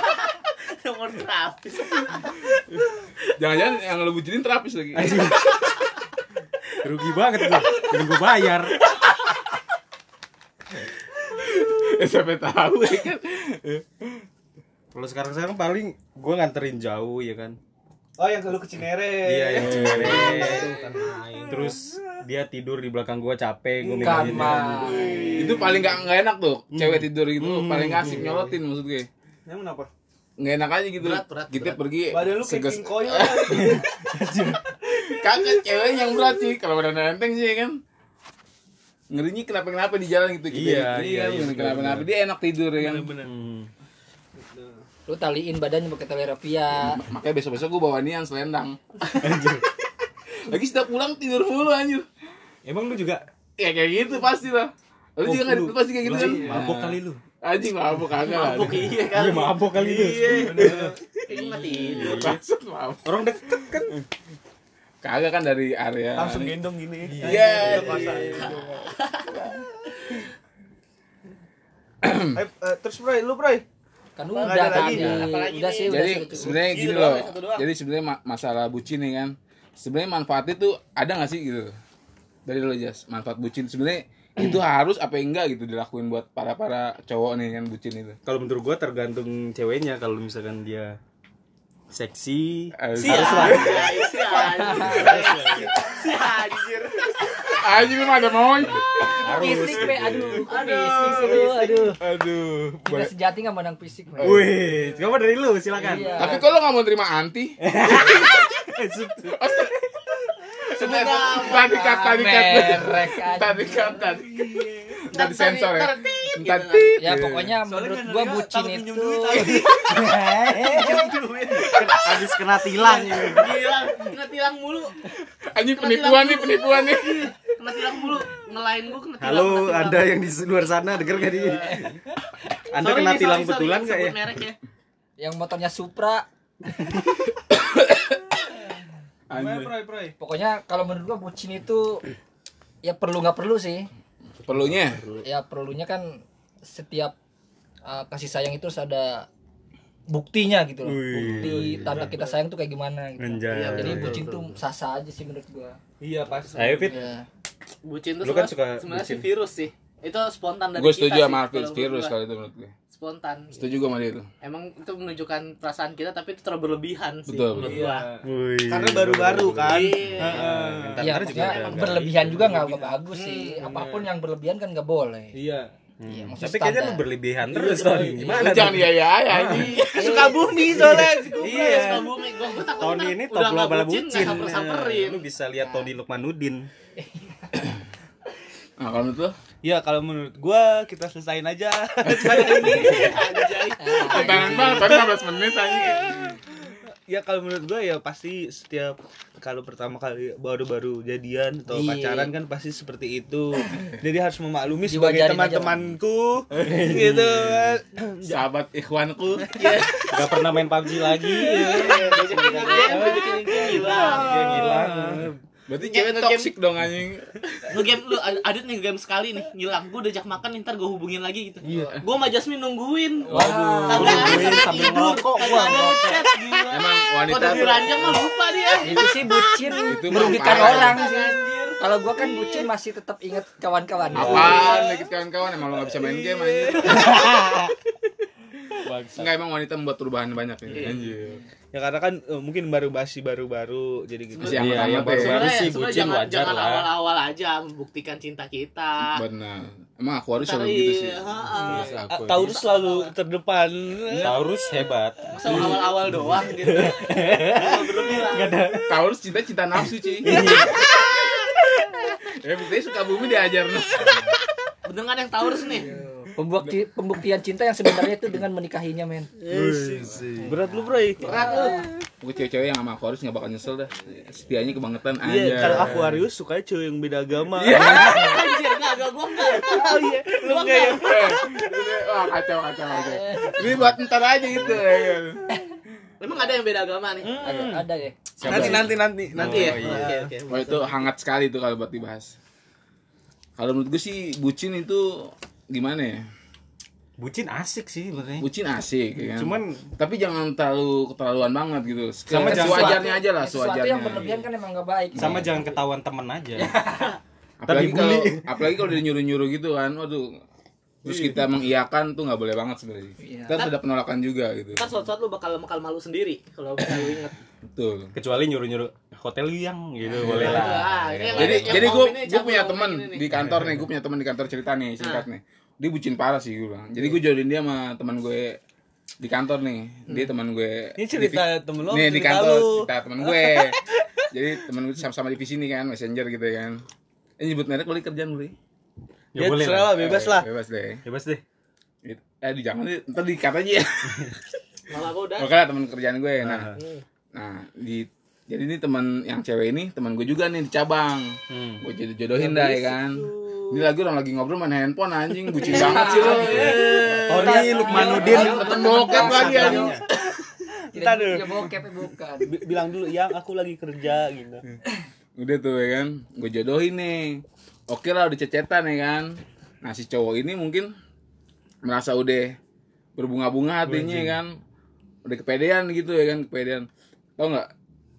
[SPEAKER 5] Nomor terapis.
[SPEAKER 3] jangan-jangan yang lo bujinin terapis lagi
[SPEAKER 4] Anjing. Rugi banget gua. Ini gua bayar.
[SPEAKER 3] Eh, siapa tahu ya kan
[SPEAKER 4] Kalau sekarang-sekarang paling gua nganterin jauh ya kan.
[SPEAKER 6] Oh, yang lu ke Cinere.
[SPEAKER 4] Iya, yang cewek.
[SPEAKER 6] Eh. Bukan main.
[SPEAKER 4] Terus dia tidur di belakang gua capek, gua minta
[SPEAKER 1] Kamar.
[SPEAKER 3] itu paling nggak nggak enak tuh
[SPEAKER 4] Hmm.
[SPEAKER 3] cewek tidur gitu paling asik nyolotin maksud gue
[SPEAKER 6] Emang kenapa?
[SPEAKER 3] nggak enak aja gitu
[SPEAKER 5] Berat, berat,
[SPEAKER 3] kita
[SPEAKER 5] berat.
[SPEAKER 3] pergi
[SPEAKER 6] Badan lu kayak
[SPEAKER 3] seges-
[SPEAKER 6] King Koyo.
[SPEAKER 3] kagak cewek yang berat sih kalau badan enteng sih ya kan ngerinya kenapa kenapa di jalan gitu gitu
[SPEAKER 4] Iya, iya, iya, bener,
[SPEAKER 3] kenapa kenapa dia enak tidur ya kan
[SPEAKER 4] Hmm.
[SPEAKER 1] Lu taliin badannya pakai tali rafia.
[SPEAKER 3] makanya besok besok gue bawa nian selendang lagi setiap pulang tidur mulu anjir
[SPEAKER 4] Emang lu juga
[SPEAKER 3] ya kayak gitu pasti lah lu juga nggak pasti kayak gitu kan
[SPEAKER 4] Oh,
[SPEAKER 6] Iya.
[SPEAKER 4] Mabok kali lu.
[SPEAKER 3] anjing mabuk kagak lah
[SPEAKER 5] Mabuk iya
[SPEAKER 4] Iya,
[SPEAKER 5] kali.
[SPEAKER 4] mabok kali lu.
[SPEAKER 6] Iya.
[SPEAKER 5] Ini mati tidur.
[SPEAKER 3] Maksud mabuk.
[SPEAKER 4] Orang deket kan.
[SPEAKER 3] kagak kan dari area
[SPEAKER 6] Langsung
[SPEAKER 3] ini.
[SPEAKER 6] gendong gini.
[SPEAKER 3] Iya.
[SPEAKER 6] Eh, eh, terus Bro, lu Bro.
[SPEAKER 1] Kan
[SPEAKER 6] Nggak
[SPEAKER 1] udah
[SPEAKER 6] ada
[SPEAKER 1] tadi.
[SPEAKER 6] lagi.
[SPEAKER 5] Apalagi
[SPEAKER 1] Udah sih, udah sih. Iya,
[SPEAKER 3] jadi
[SPEAKER 5] nih.
[SPEAKER 1] udah cukup.
[SPEAKER 3] sebenarnya
[SPEAKER 5] Gitu
[SPEAKER 3] gini
[SPEAKER 5] doang,
[SPEAKER 3] loh
[SPEAKER 5] satu doang.
[SPEAKER 3] jadi sebenarnya ma- masalah bucin nih kan sebenarnya manfaatnya tuh ada nggak sih gitu dari lo jas manfaat bucin sebenarnya itu harus apa enggak gitu dilakuin buat para para cowok nih kan bucin itu
[SPEAKER 4] Kalau menurut gua tergantung ceweknya kalau misalkan dia seksi
[SPEAKER 3] Eh,
[SPEAKER 5] Si
[SPEAKER 3] harus-
[SPEAKER 5] anjir. Si anjir. Si anjir.
[SPEAKER 3] aja memang ada mau
[SPEAKER 1] Fisik, be. Aduh. Fisik lu. Aduh.
[SPEAKER 4] Aduh.
[SPEAKER 1] Kita sejati nggak mandang fisik, be.
[SPEAKER 4] Wih, coba dari lu silakan. Eh,
[SPEAKER 1] Iya.
[SPEAKER 3] tapi kalau nggak mau terima anti tadi cut tadi cut
[SPEAKER 1] Merek aja.
[SPEAKER 3] tadi cut tadi
[SPEAKER 5] Ntar
[SPEAKER 3] tadi sensor ya
[SPEAKER 5] ntar, tit,
[SPEAKER 3] Ntar
[SPEAKER 5] gitu.
[SPEAKER 3] tit.
[SPEAKER 1] Ya pokoknya menurut
[SPEAKER 6] Soalnya
[SPEAKER 1] gua
[SPEAKER 6] nggak
[SPEAKER 1] bucin
[SPEAKER 6] takut minjem
[SPEAKER 1] itu
[SPEAKER 6] duit, takut.
[SPEAKER 4] Habis kena tilang.
[SPEAKER 5] Tilang, kena tilang mulu.
[SPEAKER 3] anjing penipuan nih penipuan nih
[SPEAKER 5] Kena tilang mulu. Ngelain gua kena tilang.
[SPEAKER 4] Halo,
[SPEAKER 5] kena tilang.
[SPEAKER 4] Anda yang di luar sana denger gak nih? Anda
[SPEAKER 5] Iya. Sorry
[SPEAKER 4] kena
[SPEAKER 5] nih,
[SPEAKER 4] tilang
[SPEAKER 5] sorry, sorry,
[SPEAKER 4] betulan gak ya?
[SPEAKER 5] sebut merek ya?
[SPEAKER 1] yang motornya Supra.
[SPEAKER 6] Gimana Bro, Bro?
[SPEAKER 1] Pokoknya kalau menurut gua bucin itu ya perlu nggak perlu sih.
[SPEAKER 3] perlunya
[SPEAKER 1] Ya perlunya kan setiap uh, kasih sayang itu harus ada buktinya gitu loh. Bukti tanda kita sayang tuh kayak gimana gitu.
[SPEAKER 4] Anjay.
[SPEAKER 1] Jadi bucin tuh sah-sah aja sih menurut gua.
[SPEAKER 6] Iya, pas.
[SPEAKER 4] Ayo Fit,
[SPEAKER 1] Ya.
[SPEAKER 5] Bucin tuh
[SPEAKER 4] Lu kan
[SPEAKER 5] sebenarnya-
[SPEAKER 4] suka
[SPEAKER 5] sebenarnya sih
[SPEAKER 4] bucin.
[SPEAKER 5] virus sih. itu spontan dari
[SPEAKER 3] Gue setuju sama
[SPEAKER 5] kita sih,
[SPEAKER 3] Alvin
[SPEAKER 5] kalau menurut
[SPEAKER 3] Virus
[SPEAKER 5] gua.
[SPEAKER 3] kalau itu menurut gue.
[SPEAKER 5] spontan
[SPEAKER 3] Setuju gue sama dia itu.
[SPEAKER 5] emang itu menunjukkan perasaan kita tapi itu terberlebihan sih
[SPEAKER 3] Betul,
[SPEAKER 5] menurut
[SPEAKER 3] betul.
[SPEAKER 2] Iya.
[SPEAKER 5] gua.
[SPEAKER 6] Karena baru-baru kan.
[SPEAKER 5] Iya.
[SPEAKER 1] Iya, maksudnya berlebihan juga nggak
[SPEAKER 3] gitu.
[SPEAKER 1] nggak bagus sih.
[SPEAKER 2] Hmm,
[SPEAKER 1] Apapun yang berlebihan kan nggak boleh.
[SPEAKER 2] Iya.
[SPEAKER 1] Iya, maksudnya
[SPEAKER 4] Tapi kayaknya lu
[SPEAKER 1] standar.
[SPEAKER 4] berlebihan terus Ton.
[SPEAKER 3] Lu
[SPEAKER 4] Gimana?
[SPEAKER 3] jangan iya iya ya.
[SPEAKER 2] Suka bumi soalnya.
[SPEAKER 5] Iya, suka bumi. Gua, gua takut
[SPEAKER 4] Tony
[SPEAKER 5] ntar
[SPEAKER 4] ini top
[SPEAKER 5] udah nggak
[SPEAKER 4] global bucin.
[SPEAKER 5] bucin, nggak samper-samperin.
[SPEAKER 4] Nah, Lu bisa lihat Tony Lukmanudin.
[SPEAKER 3] Nah, kalau menurut lu?
[SPEAKER 2] Ya kalau menurut gua kita selesain aja acara ini.
[SPEAKER 5] Anjay.
[SPEAKER 3] Tangan banget, tadi 15 menit anjing.
[SPEAKER 2] ya kalau menurut gua ya pasti setiap kalau pertama kali baru-baru jadian atau
[SPEAKER 1] Iya.
[SPEAKER 2] pacaran kan pasti seperti itu. Jadi harus memaklumi sebagai
[SPEAKER 1] Diwajarin aja.
[SPEAKER 2] teman-temanku gitu. kan.
[SPEAKER 3] Sahabat ikhwanku.
[SPEAKER 4] Gak pernah main PUBG
[SPEAKER 3] Iya,
[SPEAKER 4] lagi.
[SPEAKER 3] iya,
[SPEAKER 2] Gila.
[SPEAKER 3] Berarti cewek
[SPEAKER 5] Nge-game.
[SPEAKER 3] toksik dong anjing.
[SPEAKER 5] Nge-game lu adit nih game sekali nih ngilang. Gua udah ajak makan ntar gua hubungin lagi gitu.
[SPEAKER 3] Iya.
[SPEAKER 5] Gua sama Jasmine nungguin. Kagak ada sambil ngerokok gua. Ada chat gila.
[SPEAKER 3] Emang
[SPEAKER 5] Gua
[SPEAKER 3] wanita
[SPEAKER 5] udah
[SPEAKER 3] tuh
[SPEAKER 5] diranjang mah lupa dia.
[SPEAKER 1] Itu sih bucin
[SPEAKER 3] Itu mah
[SPEAKER 1] merugikan
[SPEAKER 3] parah.
[SPEAKER 1] orang sih. Kalau gua kan bucin masih tetap ingat kawan-kawan.
[SPEAKER 3] apaan dikit kawan-kawan emang lu gak bisa main game anjing. Enggak emang wanita membuat perubahan banyak ini.
[SPEAKER 5] Iya.
[SPEAKER 3] Anjir.
[SPEAKER 2] Ya karena kan eh, mungkin baru basi baru-baru jadi gitu.
[SPEAKER 3] Masih yang pertama tuh. ya.
[SPEAKER 4] Iya, yang baru-baru.
[SPEAKER 5] Sebenarnya
[SPEAKER 4] sih,
[SPEAKER 5] sebenarnya
[SPEAKER 4] bucin
[SPEAKER 5] jangan
[SPEAKER 4] wajar
[SPEAKER 5] jangan
[SPEAKER 4] lah.
[SPEAKER 5] awal-awal aja membuktikan cinta kita.
[SPEAKER 3] Benar. Emang aku harus
[SPEAKER 5] Ntar
[SPEAKER 3] selalu
[SPEAKER 5] iya,
[SPEAKER 3] gitu sih.
[SPEAKER 5] ha-ha.
[SPEAKER 4] Iya.
[SPEAKER 3] Terus
[SPEAKER 2] Ah,
[SPEAKER 3] aku.
[SPEAKER 2] Taurus selalu terdepan.
[SPEAKER 4] Taurus hebat.
[SPEAKER 5] Masa awal-awal doang gitu. Berlebihan.
[SPEAKER 3] Taurus cinta-cinta nafsu, Ci. Ya, buktinya suka bumi diajar lu.
[SPEAKER 5] Dengan yang Taurus nih.
[SPEAKER 1] Pembukti, pembuktian cinta yang sebenarnya itu dengan menikahinya, men.
[SPEAKER 2] Berat lu, Bro.
[SPEAKER 5] Berat lu.
[SPEAKER 3] Gue cewek-cewek yang sama Aquarius gak bakal nyesel dah Setianya kebangetan aja
[SPEAKER 2] Iya, kalau Aquarius sukanya cewek yang beda agama.
[SPEAKER 5] Anjir, enggak enggak gua enggak.
[SPEAKER 2] Oh iya, lu enggak ya?
[SPEAKER 3] Eh, Wah kacau kacau kacau Ini buat ntar aja gitu
[SPEAKER 5] Emang ada yang beda agama nih?
[SPEAKER 3] Hmm.
[SPEAKER 1] Ada ya.
[SPEAKER 2] Nanti nanti nanti nanti ya.
[SPEAKER 5] Oke, oke.
[SPEAKER 3] Wah itu hangat sekali tuh kalau buat dibahas Kalau menurut gue sih bucin itu gimana ya
[SPEAKER 4] Bucin asik sih sebenarnya.
[SPEAKER 3] Bucin asik ya kan?
[SPEAKER 4] Cuman-
[SPEAKER 3] Tapi jangan terlalu keterlaluan banget gitu
[SPEAKER 4] Sama
[SPEAKER 3] Sama
[SPEAKER 4] jangan-
[SPEAKER 3] sewajarnya aja lah
[SPEAKER 1] Sesuatu
[SPEAKER 3] sewajarnya
[SPEAKER 1] yang berlebihan kan emang nggak baik.
[SPEAKER 4] Sama jangan ketahuan temen aja.
[SPEAKER 3] Apalagi
[SPEAKER 4] Tapi
[SPEAKER 3] kalau
[SPEAKER 4] bully. Iya.
[SPEAKER 3] apalagi kalau dia nyuruh-nyuruh gitu kan Waduh Terus kita mengiyakan tuh nggak boleh banget sebenarnya.
[SPEAKER 1] Iya.
[SPEAKER 3] Kita harus ada penolakan juga gitu.
[SPEAKER 5] Kan suatu saat lu bakal bakal malu sendiri kalau bakal lu inget.
[SPEAKER 3] Betul.
[SPEAKER 4] Kecuali nyuruh-nyuruh hotel yang gitu boleh lah.
[SPEAKER 5] Wah, Nah, ini yang-
[SPEAKER 3] jadi
[SPEAKER 5] yang
[SPEAKER 3] jadi
[SPEAKER 5] om
[SPEAKER 3] gue
[SPEAKER 5] ini
[SPEAKER 3] gue
[SPEAKER 5] cabul,
[SPEAKER 3] punya
[SPEAKER 5] om
[SPEAKER 3] teman
[SPEAKER 5] ini nih. Ah.
[SPEAKER 3] di kantor nih gue punya teman di kantor cerita nih singkat nih dia bucin parah sih gue bilang jadi gue jodohin dia sama teman gue di kantor nih
[SPEAKER 5] Hmm.
[SPEAKER 3] dia teman gue
[SPEAKER 2] Ini cerita
[SPEAKER 3] divi-
[SPEAKER 2] temen lo,
[SPEAKER 3] nih di
[SPEAKER 2] cerita
[SPEAKER 3] kantor
[SPEAKER 2] lu.
[SPEAKER 3] cerita teman gue jadi teman gue sama-sama divisi nih kan messenger gitu kan ini nyebut merek boleh kerjaan boleh
[SPEAKER 4] Ya
[SPEAKER 2] Ya
[SPEAKER 4] boleh
[SPEAKER 2] terserah lah,
[SPEAKER 4] lah.
[SPEAKER 2] bebas lah.
[SPEAKER 3] bebas deh
[SPEAKER 4] Bebas deh.
[SPEAKER 3] It- eh di jangan deh, ntar dikat aja ya
[SPEAKER 5] Malah gua udah.
[SPEAKER 3] makanya Oh, teman kerjaan gue nah nah di jadi ini teman yang cewek ini teman gue juga nih di cabang gue jodoh jodohin dah ya kan ini lagi orang lagi ngobrol main handphone anjing bucin banget sih lo
[SPEAKER 4] Eh, Tony Lukmanudin.
[SPEAKER 3] nonton bokep lagi anjing
[SPEAKER 4] Iya.
[SPEAKER 1] Kita
[SPEAKER 2] Ntar dulu.
[SPEAKER 1] Ya bokep ya bukan.
[SPEAKER 2] Bi- bilang dulu yang aku lagi kerja gitu.
[SPEAKER 3] udah tuh ya kan gue jodohin nih oke lah udah cecetan ya kan nah si cowok ini mungkin merasa udah berbunga-bunga hatinya ya kan udah kepedean gitu ya kan kepedean tau nggak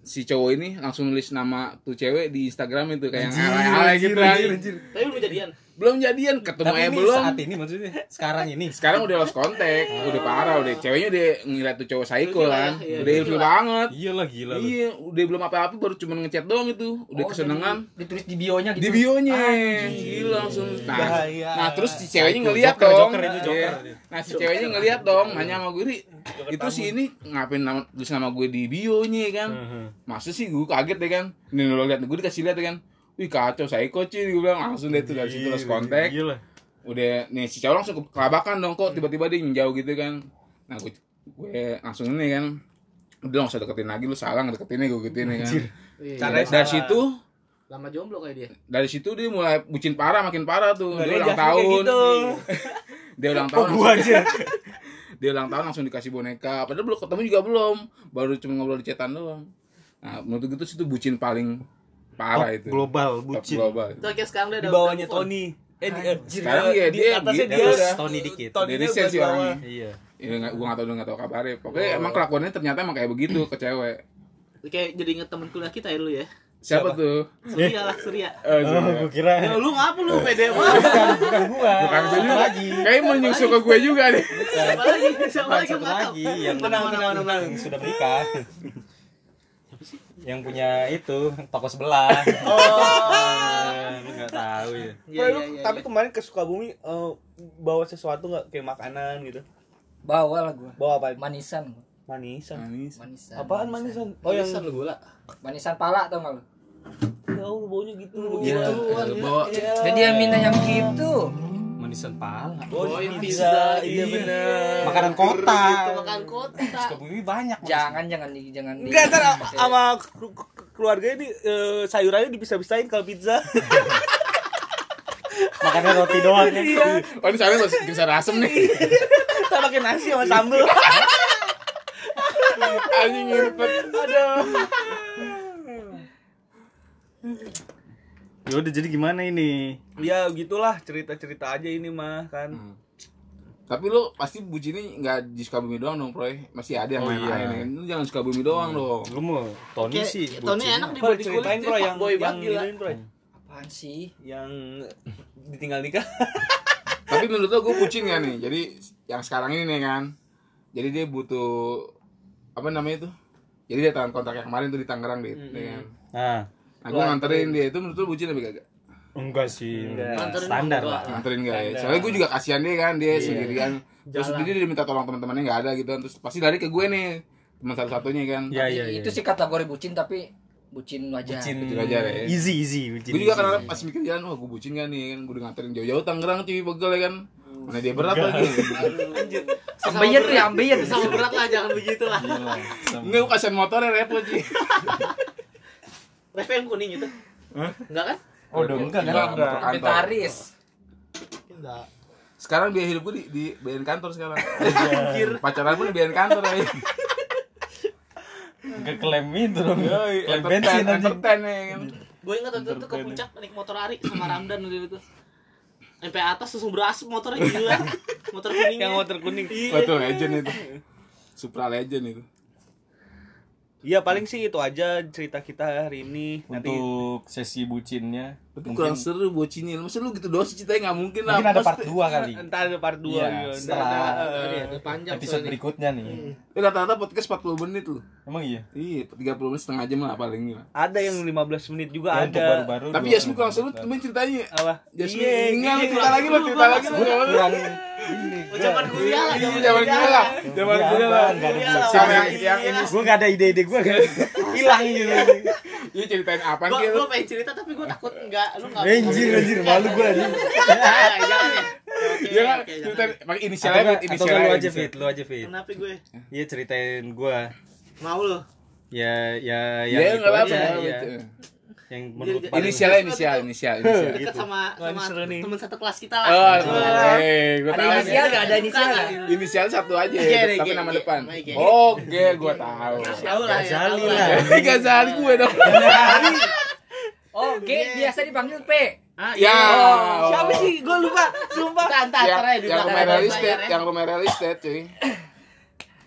[SPEAKER 3] si cowok ini langsung nulis nama tuh cewek di Instagram itu kayak yang alay-alay gitu anjing.
[SPEAKER 5] Tapi belum jadian.
[SPEAKER 3] belum jadian ketemu
[SPEAKER 4] Tapi
[SPEAKER 3] aja
[SPEAKER 4] ini
[SPEAKER 3] belum
[SPEAKER 4] saat ini maksudnya sekarang ini.
[SPEAKER 3] sekarang udah lost contact udah parah udah ceweknya udah ngira tuh cowok psycho kan
[SPEAKER 5] Ilfil lah, iya,
[SPEAKER 3] udah
[SPEAKER 5] ilfil
[SPEAKER 3] ilfil
[SPEAKER 5] lah.
[SPEAKER 3] banget
[SPEAKER 4] Iya lah gila lu.
[SPEAKER 3] iya udah belum apa-apa baru cuma ngechat doang itu udah
[SPEAKER 1] Oh,
[SPEAKER 3] kesenangan
[SPEAKER 1] jadi Ditulis di bionya gitu.
[SPEAKER 3] di bionya gila langsung nah,
[SPEAKER 2] Bahaya.
[SPEAKER 3] nah terus si ceweknya ngeliat
[SPEAKER 4] Joker,
[SPEAKER 3] dong
[SPEAKER 4] Joker itu, Joker.
[SPEAKER 3] Iya. nah si ceweknya ngeliat dong nanya sama gue "Ri, itu si ini ngapain nama, tulis nama gue di bionya ya kan
[SPEAKER 4] Hmm. Mhm.
[SPEAKER 3] masa sih gue kaget deh kan nih lo liat gue dikasih liat ya kan wih kacau psycho cuy gue bilang langsung deh tuh dari situ lost contact
[SPEAKER 4] Iya lah.
[SPEAKER 3] udah nih si cowok langsung kelabakan dong kok tiba-tiba dia menjauh gitu kan nah gue, gue langsung ini kan udah langsung deketin lagi lu salah ngedeketinnya gue gituin ya kan
[SPEAKER 5] Iya.
[SPEAKER 3] Nah, dari, dari situ
[SPEAKER 5] Lama jomblo kayak dia.
[SPEAKER 3] dari situ dia mulai bucin parah makin parah tuh dia
[SPEAKER 2] Badannya
[SPEAKER 3] ulang
[SPEAKER 2] Jasmine kayak
[SPEAKER 3] tahun
[SPEAKER 2] gitu.
[SPEAKER 3] dia ulang tahun langsung, dia ulang tahun langsung dikasih boneka padahal belum ketemu juga belum baru cuma ngobrol di cetan doang nah menurut gue tuh situ bucin paling parah itu
[SPEAKER 4] Global
[SPEAKER 3] Top
[SPEAKER 4] bucin.
[SPEAKER 3] global
[SPEAKER 5] Itu kayak sekarang dia
[SPEAKER 2] Di
[SPEAKER 5] udah
[SPEAKER 2] bawahnya
[SPEAKER 5] udah move on.
[SPEAKER 2] Tony. Eh di, eh,
[SPEAKER 3] Sekarang ya,
[SPEAKER 2] di
[SPEAKER 3] dia gitu.
[SPEAKER 2] atasnya dia.
[SPEAKER 3] Terus
[SPEAKER 4] Iya, Tony dikit.
[SPEAKER 2] Tony
[SPEAKER 3] Dari
[SPEAKER 2] nya
[SPEAKER 3] sense
[SPEAKER 2] buat
[SPEAKER 3] sih
[SPEAKER 2] bawah.
[SPEAKER 3] orangnya.
[SPEAKER 4] Iya.
[SPEAKER 3] Ya, nggak- gua gak tau, gak tau Oh. kabarnya Pokoknya emang kelakuannya ternyata emang kayak begitu ke cewek
[SPEAKER 5] Kayak jadi inget temen kuliah kita ya dulu ya.
[SPEAKER 3] Siapa, tuh?
[SPEAKER 5] Surya lah Surya
[SPEAKER 3] Eh, Zul.
[SPEAKER 4] gue Oh, kira
[SPEAKER 5] Ya, lu ngapa lu pede banget
[SPEAKER 4] bukan gua.
[SPEAKER 3] Bukan gue juga. Kayaknya menyusul ke gue juga nih.
[SPEAKER 5] siapa lagi siapa
[SPEAKER 4] Bukan satu
[SPEAKER 5] lagi Iya, nggak tahu.
[SPEAKER 4] lagi yang
[SPEAKER 5] Tenang, tenang, tenang.
[SPEAKER 4] yang sudah menikah. yang punya itu toko sebelah. Eh, lu nggak tahu ya.
[SPEAKER 5] Iya,
[SPEAKER 6] Boy,
[SPEAKER 5] iya,
[SPEAKER 6] lu
[SPEAKER 5] iya,
[SPEAKER 6] tapi
[SPEAKER 5] iya.
[SPEAKER 6] kemarin ke Sukabumi eh, bawa sesuatu nggak kayak makanan gitu?
[SPEAKER 1] Bawa lah gua.
[SPEAKER 6] Bawa apa?
[SPEAKER 1] Manisan.
[SPEAKER 6] Manisan.
[SPEAKER 1] Manisan.
[SPEAKER 6] Apaan manisan? Oh yang
[SPEAKER 5] Manisan lu gula
[SPEAKER 1] Manisan pala tau gak lu?
[SPEAKER 5] ya Allah baunya gitu
[SPEAKER 3] Iya, eh, bawa
[SPEAKER 1] Jadi yang minta yang gitu.
[SPEAKER 4] Manisan pala.
[SPEAKER 5] Oh, yang
[SPEAKER 6] Ah,
[SPEAKER 5] pizza, iya benar.
[SPEAKER 4] Makanan kota.
[SPEAKER 5] Makan kota.
[SPEAKER 4] Sukabumi banyak. Mas.
[SPEAKER 1] Jangan jangan di jangan di.
[SPEAKER 6] Enggak, ntar sama keluarga ini eh, sayurannya dipisah-pisahin kalau pizza.
[SPEAKER 4] Makannya roti doang ya.
[SPEAKER 3] Oh ini soalnya masih bisa asem nih.
[SPEAKER 6] Kita pakai nasi sama sambel.
[SPEAKER 3] Anjing ngirpet.
[SPEAKER 4] Ya udah jadi gimana ini?
[SPEAKER 6] ya gitulah cerita-cerita aja ini mah kan.
[SPEAKER 3] Tapi lu pasti bucinnya nggak di Sukabumi doang dong, Proy. Masih ada yang
[SPEAKER 4] Oh,
[SPEAKER 3] lain
[SPEAKER 4] iya.
[SPEAKER 3] lain. Lu jangan Sukabumi doang dong.
[SPEAKER 4] Lu mau Tony
[SPEAKER 5] Kayak-
[SPEAKER 4] sih.
[SPEAKER 5] Tony
[SPEAKER 4] bucin.
[SPEAKER 5] enak di
[SPEAKER 6] Bro,
[SPEAKER 5] body
[SPEAKER 6] ceritain
[SPEAKER 5] kulit
[SPEAKER 6] bro yang
[SPEAKER 5] boy
[SPEAKER 6] yang
[SPEAKER 5] banget gila.
[SPEAKER 6] ini, bro.
[SPEAKER 1] Apaan sih?
[SPEAKER 6] yang ditinggal nikah.
[SPEAKER 3] Tapi menurut lo gue bucin gak nih? Jadi yang sekarang ini nih kan. Jadi dia butuh apa namanya itu? Jadi dia tahan kontak yang kemarin tuh di Tangerang deh. kan?
[SPEAKER 4] Nah,
[SPEAKER 3] Nah, gue nganterin dia itu menurut lu bucin apa gak?
[SPEAKER 4] enggak sih.
[SPEAKER 5] Nganterin
[SPEAKER 4] Standar
[SPEAKER 5] gua.
[SPEAKER 4] lah.
[SPEAKER 3] nganterin gak ya? Soalnya gue juga kasihan dia kan, dia sendirian. Terus
[SPEAKER 5] Jalan.
[SPEAKER 3] dia dia minta tolong teman-temannya nggak ada gitu kan. Terus pasti lari ke gue nih teman satu-satunya kan.
[SPEAKER 4] Ya ya ya.
[SPEAKER 1] Itu sih kategori bucin tapi bucin wajah.
[SPEAKER 4] Bucin
[SPEAKER 3] Bucin aja deh.
[SPEAKER 4] easy easy. bucin
[SPEAKER 3] Gue juga
[SPEAKER 4] easy.
[SPEAKER 3] karena pas mikir jalan, wah gue bucin gak nih kan. Gue udah nganterin jauh-jauh Tangerang cuy pegel ya kan.
[SPEAKER 4] Hmm.
[SPEAKER 3] Mana dia berat lagi.
[SPEAKER 1] Ambeien tuh ya, ambeien.
[SPEAKER 5] Sama berat lah jangan begitu lah.
[SPEAKER 3] Enggak, gue kasihan motornya repot sih.
[SPEAKER 5] Reva yang kuning itu. Enggak kan?
[SPEAKER 4] Oh, udah enggak kan?
[SPEAKER 3] Enggak, motor kantor.
[SPEAKER 1] Inventaris.
[SPEAKER 5] Enggak.
[SPEAKER 3] Sekarang biaya hidup gue di, di bayarin kantor sekarang.
[SPEAKER 4] Iya.
[SPEAKER 3] Pacaran pun dibayarin kantor ya.
[SPEAKER 4] Enggak klaim itu dong. Klaim bensin
[SPEAKER 3] Entertain,
[SPEAKER 4] aja.
[SPEAKER 3] entertain ya kan.
[SPEAKER 5] Gue ingat waktu itu ke puncak naik motor Ari sama Ramdan waktu itu. Sampai atas langsung berasap motornya gila. Motor kuningnya.
[SPEAKER 6] yang motor kuning.
[SPEAKER 3] Wah, itu legend itu. Supra legend itu.
[SPEAKER 6] Iya paling sih itu aja cerita kita hari ini. Nanti
[SPEAKER 4] Untuk sesi bucinnya
[SPEAKER 3] Tapi kurang seru bucinnya. Maksud lu gitu doang sih ceritanya nggak mungkin lah.
[SPEAKER 4] Mungkin ada
[SPEAKER 3] Pasti-
[SPEAKER 4] part 2 kali.
[SPEAKER 6] entar ada part 2
[SPEAKER 4] Iya,
[SPEAKER 6] gitu.
[SPEAKER 4] setelah
[SPEAKER 5] Tadi ada panjang
[SPEAKER 4] Episode
[SPEAKER 5] soalnya.
[SPEAKER 4] berikutnya nih.
[SPEAKER 3] Eh, rata-rata podcast 40 menit loh.
[SPEAKER 4] Emang iya.
[SPEAKER 3] Iya, 30 menit setengah jam lah paling. Lah.
[SPEAKER 6] Ada yang 15 menit juga
[SPEAKER 4] Ya, Untuk
[SPEAKER 6] ada.
[SPEAKER 4] baru-baru.
[SPEAKER 3] Tapi
[SPEAKER 4] dua- Iya,
[SPEAKER 3] Yasmin kurang seru temen ceritanya.
[SPEAKER 6] Apa?
[SPEAKER 3] Yasmin,
[SPEAKER 6] Iya,
[SPEAKER 3] enggak,
[SPEAKER 6] iya.
[SPEAKER 3] cerita lagi lo, cerita lagi lo.
[SPEAKER 4] kurang
[SPEAKER 5] Oh, zaman kuliah lah,
[SPEAKER 3] Iya, zaman kuliah lah. Zaman
[SPEAKER 4] Iya,
[SPEAKER 3] kuliah
[SPEAKER 4] apa,
[SPEAKER 3] lah.
[SPEAKER 4] nggak ada
[SPEAKER 3] Sama yang yang ini.
[SPEAKER 4] gue gak ada ide-ide gue hilang gitu
[SPEAKER 3] Iya, ceritain apa
[SPEAKER 5] Gua
[SPEAKER 3] sih lu?
[SPEAKER 5] gua pengen cerita tapi gua takut enggak lu enggak. Iya,
[SPEAKER 4] anjir anjir malu gue anjir
[SPEAKER 5] Jangan jangan ya. Oke,
[SPEAKER 3] Iya kan?
[SPEAKER 5] oke,
[SPEAKER 3] Ceritain pakai
[SPEAKER 4] atau
[SPEAKER 3] inisialnya,
[SPEAKER 4] nggak-
[SPEAKER 3] Fit,
[SPEAKER 4] atau nggak
[SPEAKER 3] inisialnya.
[SPEAKER 4] lu aja fit lu aja
[SPEAKER 5] jangan.
[SPEAKER 4] fit
[SPEAKER 5] Kenapa gue?
[SPEAKER 4] iya ceritain gue
[SPEAKER 5] Mau lu.
[SPEAKER 4] ya ya
[SPEAKER 3] Ya,
[SPEAKER 4] yang itu
[SPEAKER 3] nggak apa-apa. iya.
[SPEAKER 4] aja Iya. ya.
[SPEAKER 3] nggak apa-apa.
[SPEAKER 4] yang menurut
[SPEAKER 5] Jadi-
[SPEAKER 4] paling
[SPEAKER 3] Inisialnya, inisial, inisial,
[SPEAKER 5] Iya.
[SPEAKER 3] Oh, iya. inisial.
[SPEAKER 5] Deket sama sama
[SPEAKER 6] seru nih.
[SPEAKER 5] teman satu kelas kita lah.
[SPEAKER 3] Gitu. Oh,
[SPEAKER 5] Wah.
[SPEAKER 3] eh, gua
[SPEAKER 1] Ada
[SPEAKER 3] tahu.
[SPEAKER 1] inisial enggak ada inisial? nggak?
[SPEAKER 3] Inisial satu aja,
[SPEAKER 5] G,
[SPEAKER 3] tapi
[SPEAKER 5] G,
[SPEAKER 3] nama
[SPEAKER 5] G.
[SPEAKER 3] depan.
[SPEAKER 5] Nama G.
[SPEAKER 3] Oke, gua tahu.
[SPEAKER 5] Tahu lah ya.
[SPEAKER 4] Ghazali
[SPEAKER 5] tahu
[SPEAKER 4] lah.
[SPEAKER 3] Eh, gak sehari gue dong.
[SPEAKER 1] Oh, G
[SPEAKER 6] Iya.
[SPEAKER 1] biasa dipanggil P.
[SPEAKER 5] Ah,
[SPEAKER 3] Ya.
[SPEAKER 5] iya.
[SPEAKER 6] Siapa sih? Gua lupa. Sumpah.
[SPEAKER 5] Entar entar
[SPEAKER 3] Yang,
[SPEAKER 5] entar ya di
[SPEAKER 3] Ya. yang rumah
[SPEAKER 5] belakang.
[SPEAKER 3] real estate, yang rumah real estate, cuy.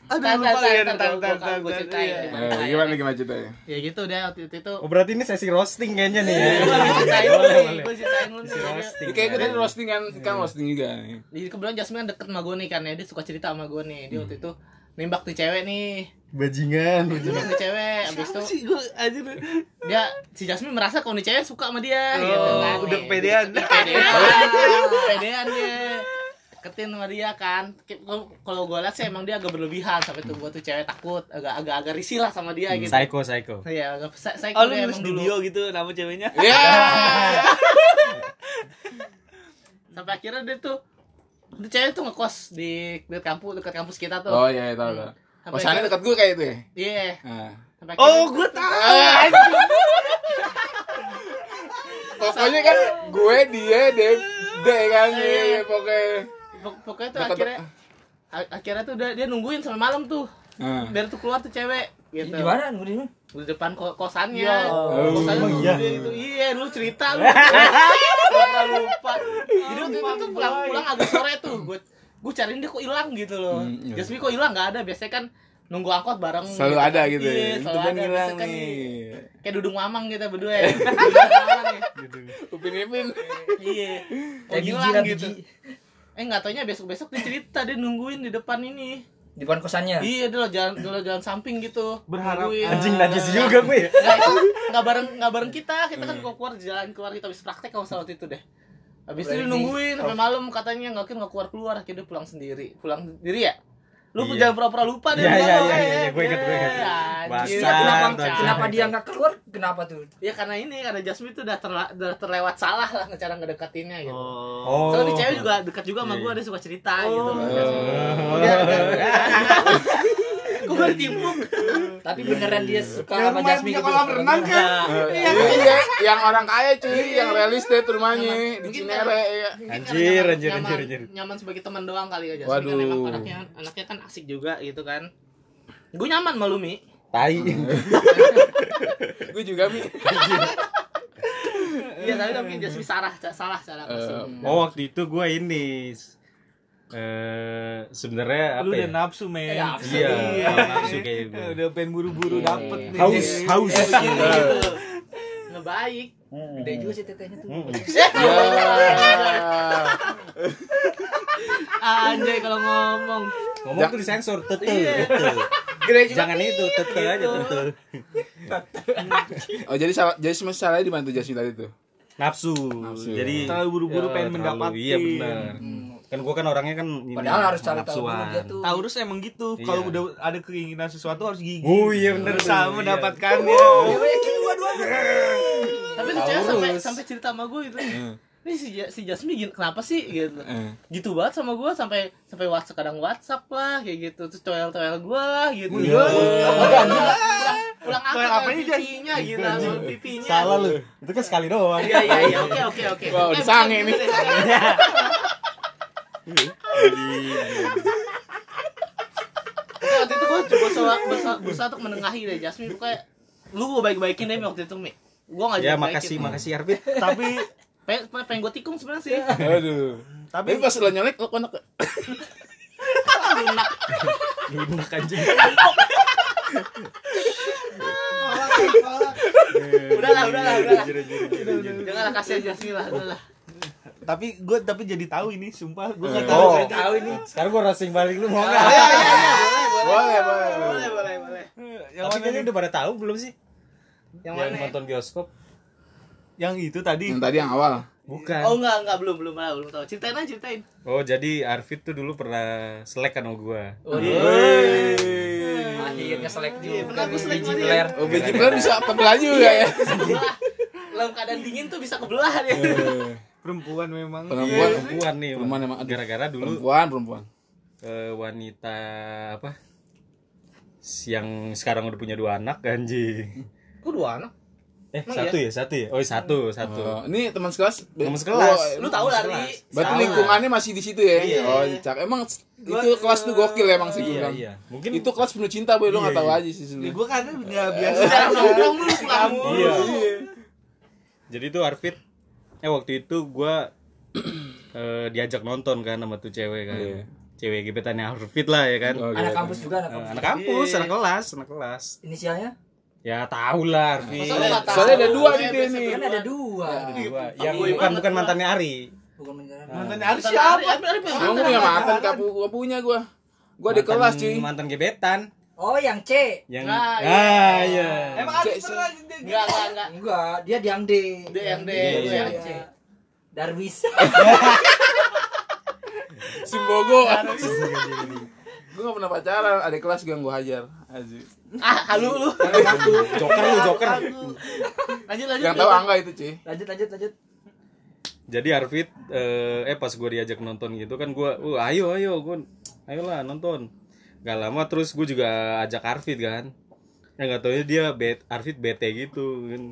[SPEAKER 6] Aduh
[SPEAKER 5] Entar
[SPEAKER 6] lupa ya, lagi.
[SPEAKER 5] entar
[SPEAKER 6] Entar entar
[SPEAKER 5] entar gue
[SPEAKER 6] entar.
[SPEAKER 5] ceritain.
[SPEAKER 6] iya.
[SPEAKER 3] Eh, gimana gimana ceritanya?
[SPEAKER 5] Ya gitu deh waktu itu tuh.
[SPEAKER 4] oh berarti ini sesi roasting kayaknya nih ya
[SPEAKER 5] Gue ceritain lu nih, gue ceritain lu nih.
[SPEAKER 4] roasting
[SPEAKER 3] Ini kayak gue tadi roasting kan, kan
[SPEAKER 5] iya.
[SPEAKER 3] roasting juga.
[SPEAKER 5] Jadi kebetulan Jasmine kan deket sama gue nih kan ya, dia suka cerita sama gue nih. Dia waktu
[SPEAKER 3] Hmm.
[SPEAKER 5] itu nembak tuh cewek nih,
[SPEAKER 4] bajingan
[SPEAKER 5] nembak tuh cewek. Abis itu
[SPEAKER 6] Sih gua anjir.
[SPEAKER 5] dia si Jasmine merasa kalau nih cewek suka sama dia gitu kan.
[SPEAKER 6] Oh, udah
[SPEAKER 5] nih.
[SPEAKER 6] kepedean.
[SPEAKER 5] Udah kepedean. kepedean dia. Deketin sama dia kan. Kalau- Kalau gue lihat sih emang dia agak berlebihan sampai tuh gue tuh cewek takut, agak agak agak risih lah sama dia gitu.
[SPEAKER 4] Hmm. psycho psycho
[SPEAKER 5] Iya, agak saya saya
[SPEAKER 6] Hmm. Oh lu
[SPEAKER 5] kira
[SPEAKER 6] nulis
[SPEAKER 5] emang
[SPEAKER 6] di
[SPEAKER 5] dulu.
[SPEAKER 6] bio gitu nama ceweknya.
[SPEAKER 3] Ya.
[SPEAKER 5] Sampai akhirnya dia tuh dia cewek tuh ngekos di dekat kampus dekat kampus kita tuh.
[SPEAKER 3] Oh iya, tahu tahu.
[SPEAKER 5] Sampai
[SPEAKER 3] Kosannya
[SPEAKER 5] akhirnya-
[SPEAKER 3] dekat gue kayak itu ya.
[SPEAKER 5] Iya.
[SPEAKER 3] Nah.
[SPEAKER 5] Sampai akhirnya-
[SPEAKER 6] Oh, gua tahu.
[SPEAKER 3] Pokoknya kan gue dia dia dia kan iya, pokoknya.
[SPEAKER 5] Pok- pokoknya tuh
[SPEAKER 3] Deket-
[SPEAKER 5] akhirnya a- akhirnya tuh dia, dia nungguin sampai malam tuh
[SPEAKER 3] Nah.
[SPEAKER 5] biar tuh keluar tuh cewek gitu
[SPEAKER 1] Di mana? Gua di mana?
[SPEAKER 5] di depan ko- kosannya kosannya
[SPEAKER 3] Oh,
[SPEAKER 5] tuh
[SPEAKER 4] iya?
[SPEAKER 5] gede gitu iya lu cerita lu lupa lupa jadi waktu itu tuh pulang pulang agak sore tuh gue gue cariin dia kok hilang gitu loh
[SPEAKER 3] Hmm, iya.
[SPEAKER 5] Jasmine kok hilang nggak ada biasanya kan nunggu angkot bareng
[SPEAKER 3] Selalu
[SPEAKER 5] gitu
[SPEAKER 3] ada
[SPEAKER 5] kan.
[SPEAKER 3] gitu.
[SPEAKER 5] Iya,
[SPEAKER 3] Itu
[SPEAKER 5] selalu
[SPEAKER 3] kan
[SPEAKER 5] ada.
[SPEAKER 3] hilang
[SPEAKER 5] Biasa kan
[SPEAKER 3] nih.
[SPEAKER 5] kayak dudung mamang kita berdua ya Dudung mamang ya.
[SPEAKER 3] Upin Ipin.
[SPEAKER 5] iya
[SPEAKER 6] Oh,
[SPEAKER 5] kayak
[SPEAKER 1] Kayak biji
[SPEAKER 5] hilang
[SPEAKER 1] lah,
[SPEAKER 5] gitu
[SPEAKER 1] biji.
[SPEAKER 5] eh nggak taunya besok besok dia cerita dia nungguin di depan ini
[SPEAKER 1] Di depan kosannya.
[SPEAKER 5] iya dia lo jalan dia lo jalan samping gitu
[SPEAKER 2] Berharap
[SPEAKER 5] Nungguin.
[SPEAKER 2] anjing najis
[SPEAKER 5] Iya.
[SPEAKER 2] juga gue ya.
[SPEAKER 5] Nggak, itu nggak bareng nggak bareng kita kita
[SPEAKER 4] Hmm.
[SPEAKER 5] kan gua keluar jalan keluar kita habis praktek kalau salah waktu itu deh habis itu dia
[SPEAKER 1] Berarti-
[SPEAKER 5] nungguin sampai
[SPEAKER 4] Oh.
[SPEAKER 5] malam katanya nggak nggak keluar keluar akhirnya dia pulang sendiri pulang sendiri ya lu jangan pura-pura lupa deh
[SPEAKER 4] Iya, iya,
[SPEAKER 5] lu, lo,
[SPEAKER 4] iya,
[SPEAKER 5] eh.
[SPEAKER 4] iya, iya, gue ingat, gue ingat.
[SPEAKER 5] Eh, anjir.
[SPEAKER 4] Basah,
[SPEAKER 1] Iya, kenapa
[SPEAKER 4] Tarzan.
[SPEAKER 1] kenapa dia nggak keluar? Kenapa tuh?
[SPEAKER 5] Ya karena ini karena Jasmine tuh udah, terla- udah terlewat salah lah cara ngedekatinnya gitu.
[SPEAKER 2] Oh.
[SPEAKER 5] Soalnya di cewek juga dekat juga
[SPEAKER 4] Iya,
[SPEAKER 5] sama gue, dia suka cerita
[SPEAKER 4] Oh.
[SPEAKER 5] gitu. iya. Dia, dia, gue baru timpuk.
[SPEAKER 1] Tapi beneran dia suka sama
[SPEAKER 6] rumahnya
[SPEAKER 1] Jasmine
[SPEAKER 6] punya
[SPEAKER 1] gitu.
[SPEAKER 6] kolam renang kan?
[SPEAKER 3] Iya, yang orang kaya cuy, yang real estate rumahnya di
[SPEAKER 5] Iya. Mungkin
[SPEAKER 3] Cinere. iya.
[SPEAKER 5] Mungkin
[SPEAKER 4] Anjir,
[SPEAKER 5] karena nyaman-
[SPEAKER 4] anjir,
[SPEAKER 5] nyaman-
[SPEAKER 4] anjir, anjir.
[SPEAKER 5] Nyaman sebagai teman doang kali ya Jasmine
[SPEAKER 3] Waduh.
[SPEAKER 5] kan emang anaknya, anaknya kan asik juga gitu kan. Gue nyaman sama Lumi.
[SPEAKER 4] Tai.
[SPEAKER 3] Gue juga mi.
[SPEAKER 5] Iya, tapi tapi Jasmine salah, ca- salah, salah. kasih.
[SPEAKER 4] Oh waktu itu gue ini eh sebenarnya apa ya?
[SPEAKER 2] Lu udah nafsu, men.
[SPEAKER 5] Ya, nafsu.
[SPEAKER 4] Iya, hawa nafsu kayak gue.
[SPEAKER 2] Udah pengen buru-buru
[SPEAKER 4] Iya.
[SPEAKER 2] dapet nih.
[SPEAKER 4] Haus, haus.
[SPEAKER 5] Gitu. Ngebaik.
[SPEAKER 1] Gede juga sih tetenya tuh.
[SPEAKER 3] Ah.
[SPEAKER 5] Anjay kalau ngomong.
[SPEAKER 4] Ngomong tuh disensor, tetel, tetel. Jangan itu, tetel aja, tetel.
[SPEAKER 3] Oh jadi salah, jadi sebenarnya salahnya di mana tuh Jasmine tadi tuh?
[SPEAKER 4] Nafsu.
[SPEAKER 3] Nafsu.
[SPEAKER 4] Jadi
[SPEAKER 2] Terlalu buru-buru
[SPEAKER 4] Ya,
[SPEAKER 2] pengen
[SPEAKER 4] terlalu-
[SPEAKER 2] mendapatin.
[SPEAKER 4] Iya benar. Kan gua kan orangnya kan ini,
[SPEAKER 1] Padahal harus cari tahu dulu
[SPEAKER 4] nafsuan.
[SPEAKER 1] dia tuh.
[SPEAKER 2] Taurus emang gitu. Kalau
[SPEAKER 4] Iya.
[SPEAKER 2] udah ada keinginan sesuatu harus gigih.
[SPEAKER 4] Oh iya benar
[SPEAKER 2] Berusaha mendapatkannya.
[SPEAKER 1] Iya,
[SPEAKER 5] Tapi tuh cewek sampai sampai cerita sama gue itu.
[SPEAKER 4] Eh.
[SPEAKER 5] Ini si, Ja- si Jasmine gini- kenapa sih gitu.
[SPEAKER 3] Ah.
[SPEAKER 5] Gitu banget sama gue sampai sampai WhatsApp kadang WhatsApp lah kayak gitu. Terus toel-toel gue lah gitu. Iya. Pulang apa?
[SPEAKER 2] Toel apanya, Jas?
[SPEAKER 5] pipinya gitu sama pipinya.
[SPEAKER 4] Salah lu. Itu kan sekali doang.
[SPEAKER 5] Iya iya iya oke oke oke.
[SPEAKER 3] Wah,
[SPEAKER 5] Eh,
[SPEAKER 3] udah sange
[SPEAKER 5] bukan,
[SPEAKER 3] nih.
[SPEAKER 5] bukan, bukan. Tapi waktu itu gue coba soal berusaha, berusaha untuk menengahi deh Jasmine pokoknya lu gue baik-baikin deh Mi, waktu itu Mi gue nggak
[SPEAKER 4] Ya makasih, makasih Arvin.
[SPEAKER 2] Tapi
[SPEAKER 5] pengen, pengen gue tikung sebenarnya sih
[SPEAKER 3] iya, Aduh. Tapi
[SPEAKER 2] Eh,
[SPEAKER 3] pas lo nyelek lo konek
[SPEAKER 5] lunak
[SPEAKER 4] Lunak anjing.
[SPEAKER 5] udahlah udahlah udahlah
[SPEAKER 4] Jujur, jujur, jujur, jujur.
[SPEAKER 5] janganlah kasih Jasmine lah udahlah
[SPEAKER 2] tapi gue tapi jadi tahu ini sumpah gue nggak
[SPEAKER 4] Oh,
[SPEAKER 2] tahu.
[SPEAKER 4] tahu ini. Sekarang gua racing balik lu mau enggak?
[SPEAKER 3] Boleh boleh. boleh.
[SPEAKER 5] boleh boleh
[SPEAKER 2] Yang
[SPEAKER 4] Tapi
[SPEAKER 2] mana
[SPEAKER 4] kayaknya
[SPEAKER 2] nih?
[SPEAKER 4] udah pada tahu belum sih?
[SPEAKER 5] yang
[SPEAKER 4] Yang
[SPEAKER 5] mana
[SPEAKER 4] nonton bioskop?
[SPEAKER 2] Yang itu tadi.
[SPEAKER 3] Yang tadi yang awal.
[SPEAKER 4] Bukan.
[SPEAKER 5] oh enggak enggak belum belum malah belum tahu ceritain aja ceritain
[SPEAKER 4] Oh, jadi Arvin tuh dulu pernah selek kan sama gua.
[SPEAKER 1] Akhirnya selek
[SPEAKER 6] Iya,
[SPEAKER 1] juga.
[SPEAKER 5] pernah gue sering
[SPEAKER 1] Biji
[SPEAKER 5] banget ya.
[SPEAKER 1] player.
[SPEAKER 3] Oh, biji pelan bisa kebelah juga ya.
[SPEAKER 5] Kebelah. dalam keadaan dingin tuh bisa kebelah ya
[SPEAKER 2] Perempuan memang.
[SPEAKER 3] Perempuan,
[SPEAKER 4] Perempuan nih,
[SPEAKER 3] Perempuan emang, aduh.
[SPEAKER 4] gara-gara dulu
[SPEAKER 3] perempuan, perempuan.
[SPEAKER 4] eh, wanita apa? Yang sekarang udah punya dua anak anjing.
[SPEAKER 5] gue dua anak
[SPEAKER 4] Eh,
[SPEAKER 5] Emang
[SPEAKER 4] satu ya, satu ya. Oh, satu, satu.
[SPEAKER 3] Oh, ini teman sekelas.
[SPEAKER 4] Teman sekelas.
[SPEAKER 3] Oh,
[SPEAKER 5] Eh, lu tahu lah Ri
[SPEAKER 3] Berarti
[SPEAKER 4] Sama.
[SPEAKER 3] lingkungannya masih di situ ya. Oh, cak. Emang itu kelas tuh gokil ya, emang sih gua
[SPEAKER 4] Iya,
[SPEAKER 3] bilang.
[SPEAKER 4] iya. Mungkin
[SPEAKER 3] Itu kelas penuh cinta boy, lo nggak tahu aja sih sebenarnya.
[SPEAKER 2] Nih gue karena Ya, kan nggak biasa.
[SPEAKER 5] Jarang nongkrong lu suka
[SPEAKER 3] Oh,
[SPEAKER 4] Iya. Jadi tuh Arfit eh waktu itu gua eh, diajak nonton kan sama tuh cewek kan.
[SPEAKER 3] Iya.
[SPEAKER 4] Cewek gebetannya Arfit lah ya kan.
[SPEAKER 3] Oh,
[SPEAKER 1] Anak
[SPEAKER 3] gitu.
[SPEAKER 1] kampus juga anak
[SPEAKER 4] Eh,
[SPEAKER 1] kampus.
[SPEAKER 4] anak
[SPEAKER 3] Iya.
[SPEAKER 4] kampus, anak kelas, anak kelas.
[SPEAKER 1] Inisialnya?
[SPEAKER 4] Ya tau lah Arfit.
[SPEAKER 5] Masa lu nggak tahu?
[SPEAKER 3] Soalnya ada dua di dia
[SPEAKER 1] Kan
[SPEAKER 3] nih.
[SPEAKER 6] Iya.
[SPEAKER 1] ada dua.
[SPEAKER 4] Gua, yang
[SPEAKER 5] Gua
[SPEAKER 4] bukan
[SPEAKER 5] ibarat
[SPEAKER 4] bukan
[SPEAKER 5] gua.
[SPEAKER 4] mantannya Ari.
[SPEAKER 1] Bukan beneran.
[SPEAKER 2] Mantannya Ari
[SPEAKER 5] Mantan
[SPEAKER 2] siapa?
[SPEAKER 5] Ari- Ari- Ari punya
[SPEAKER 3] Gua
[SPEAKER 5] mantan.
[SPEAKER 3] punya mantan, gak pu- gak punya gua. Gua di
[SPEAKER 4] Mantan-
[SPEAKER 3] kelas cuy.
[SPEAKER 4] Mantan gebetan
[SPEAKER 1] Oh, yang C.
[SPEAKER 4] yang ah,
[SPEAKER 5] Ah, iya.
[SPEAKER 4] iya.
[SPEAKER 2] Emang ada
[SPEAKER 3] Cek,
[SPEAKER 2] pernah
[SPEAKER 5] Enggak, enggak, enggak.
[SPEAKER 1] Enggak, dia di yang D.
[SPEAKER 5] Dia yang D,
[SPEAKER 4] Iya,
[SPEAKER 5] gue
[SPEAKER 4] iya.
[SPEAKER 5] yang C.
[SPEAKER 1] Darwis.
[SPEAKER 3] Si Bogo. Gua gak pernah pacaran, ada kelas gua yang gua hajar. Aji.
[SPEAKER 5] Ah, halu lu.
[SPEAKER 4] Joker lu joker.
[SPEAKER 5] Lanjut, lanjut.
[SPEAKER 3] Yang tahu angga itu cuy.
[SPEAKER 1] Lanjut, lanjut, lanjut.
[SPEAKER 4] Jadi Arfit eh, eh pas gue diajak nonton gitu kan gue, uh ayo ayo gue, ayolah nonton. Gak lama terus gue juga ajak Arfit kan. Ya nggak taunya dia bet, Arfit bete gitu kan.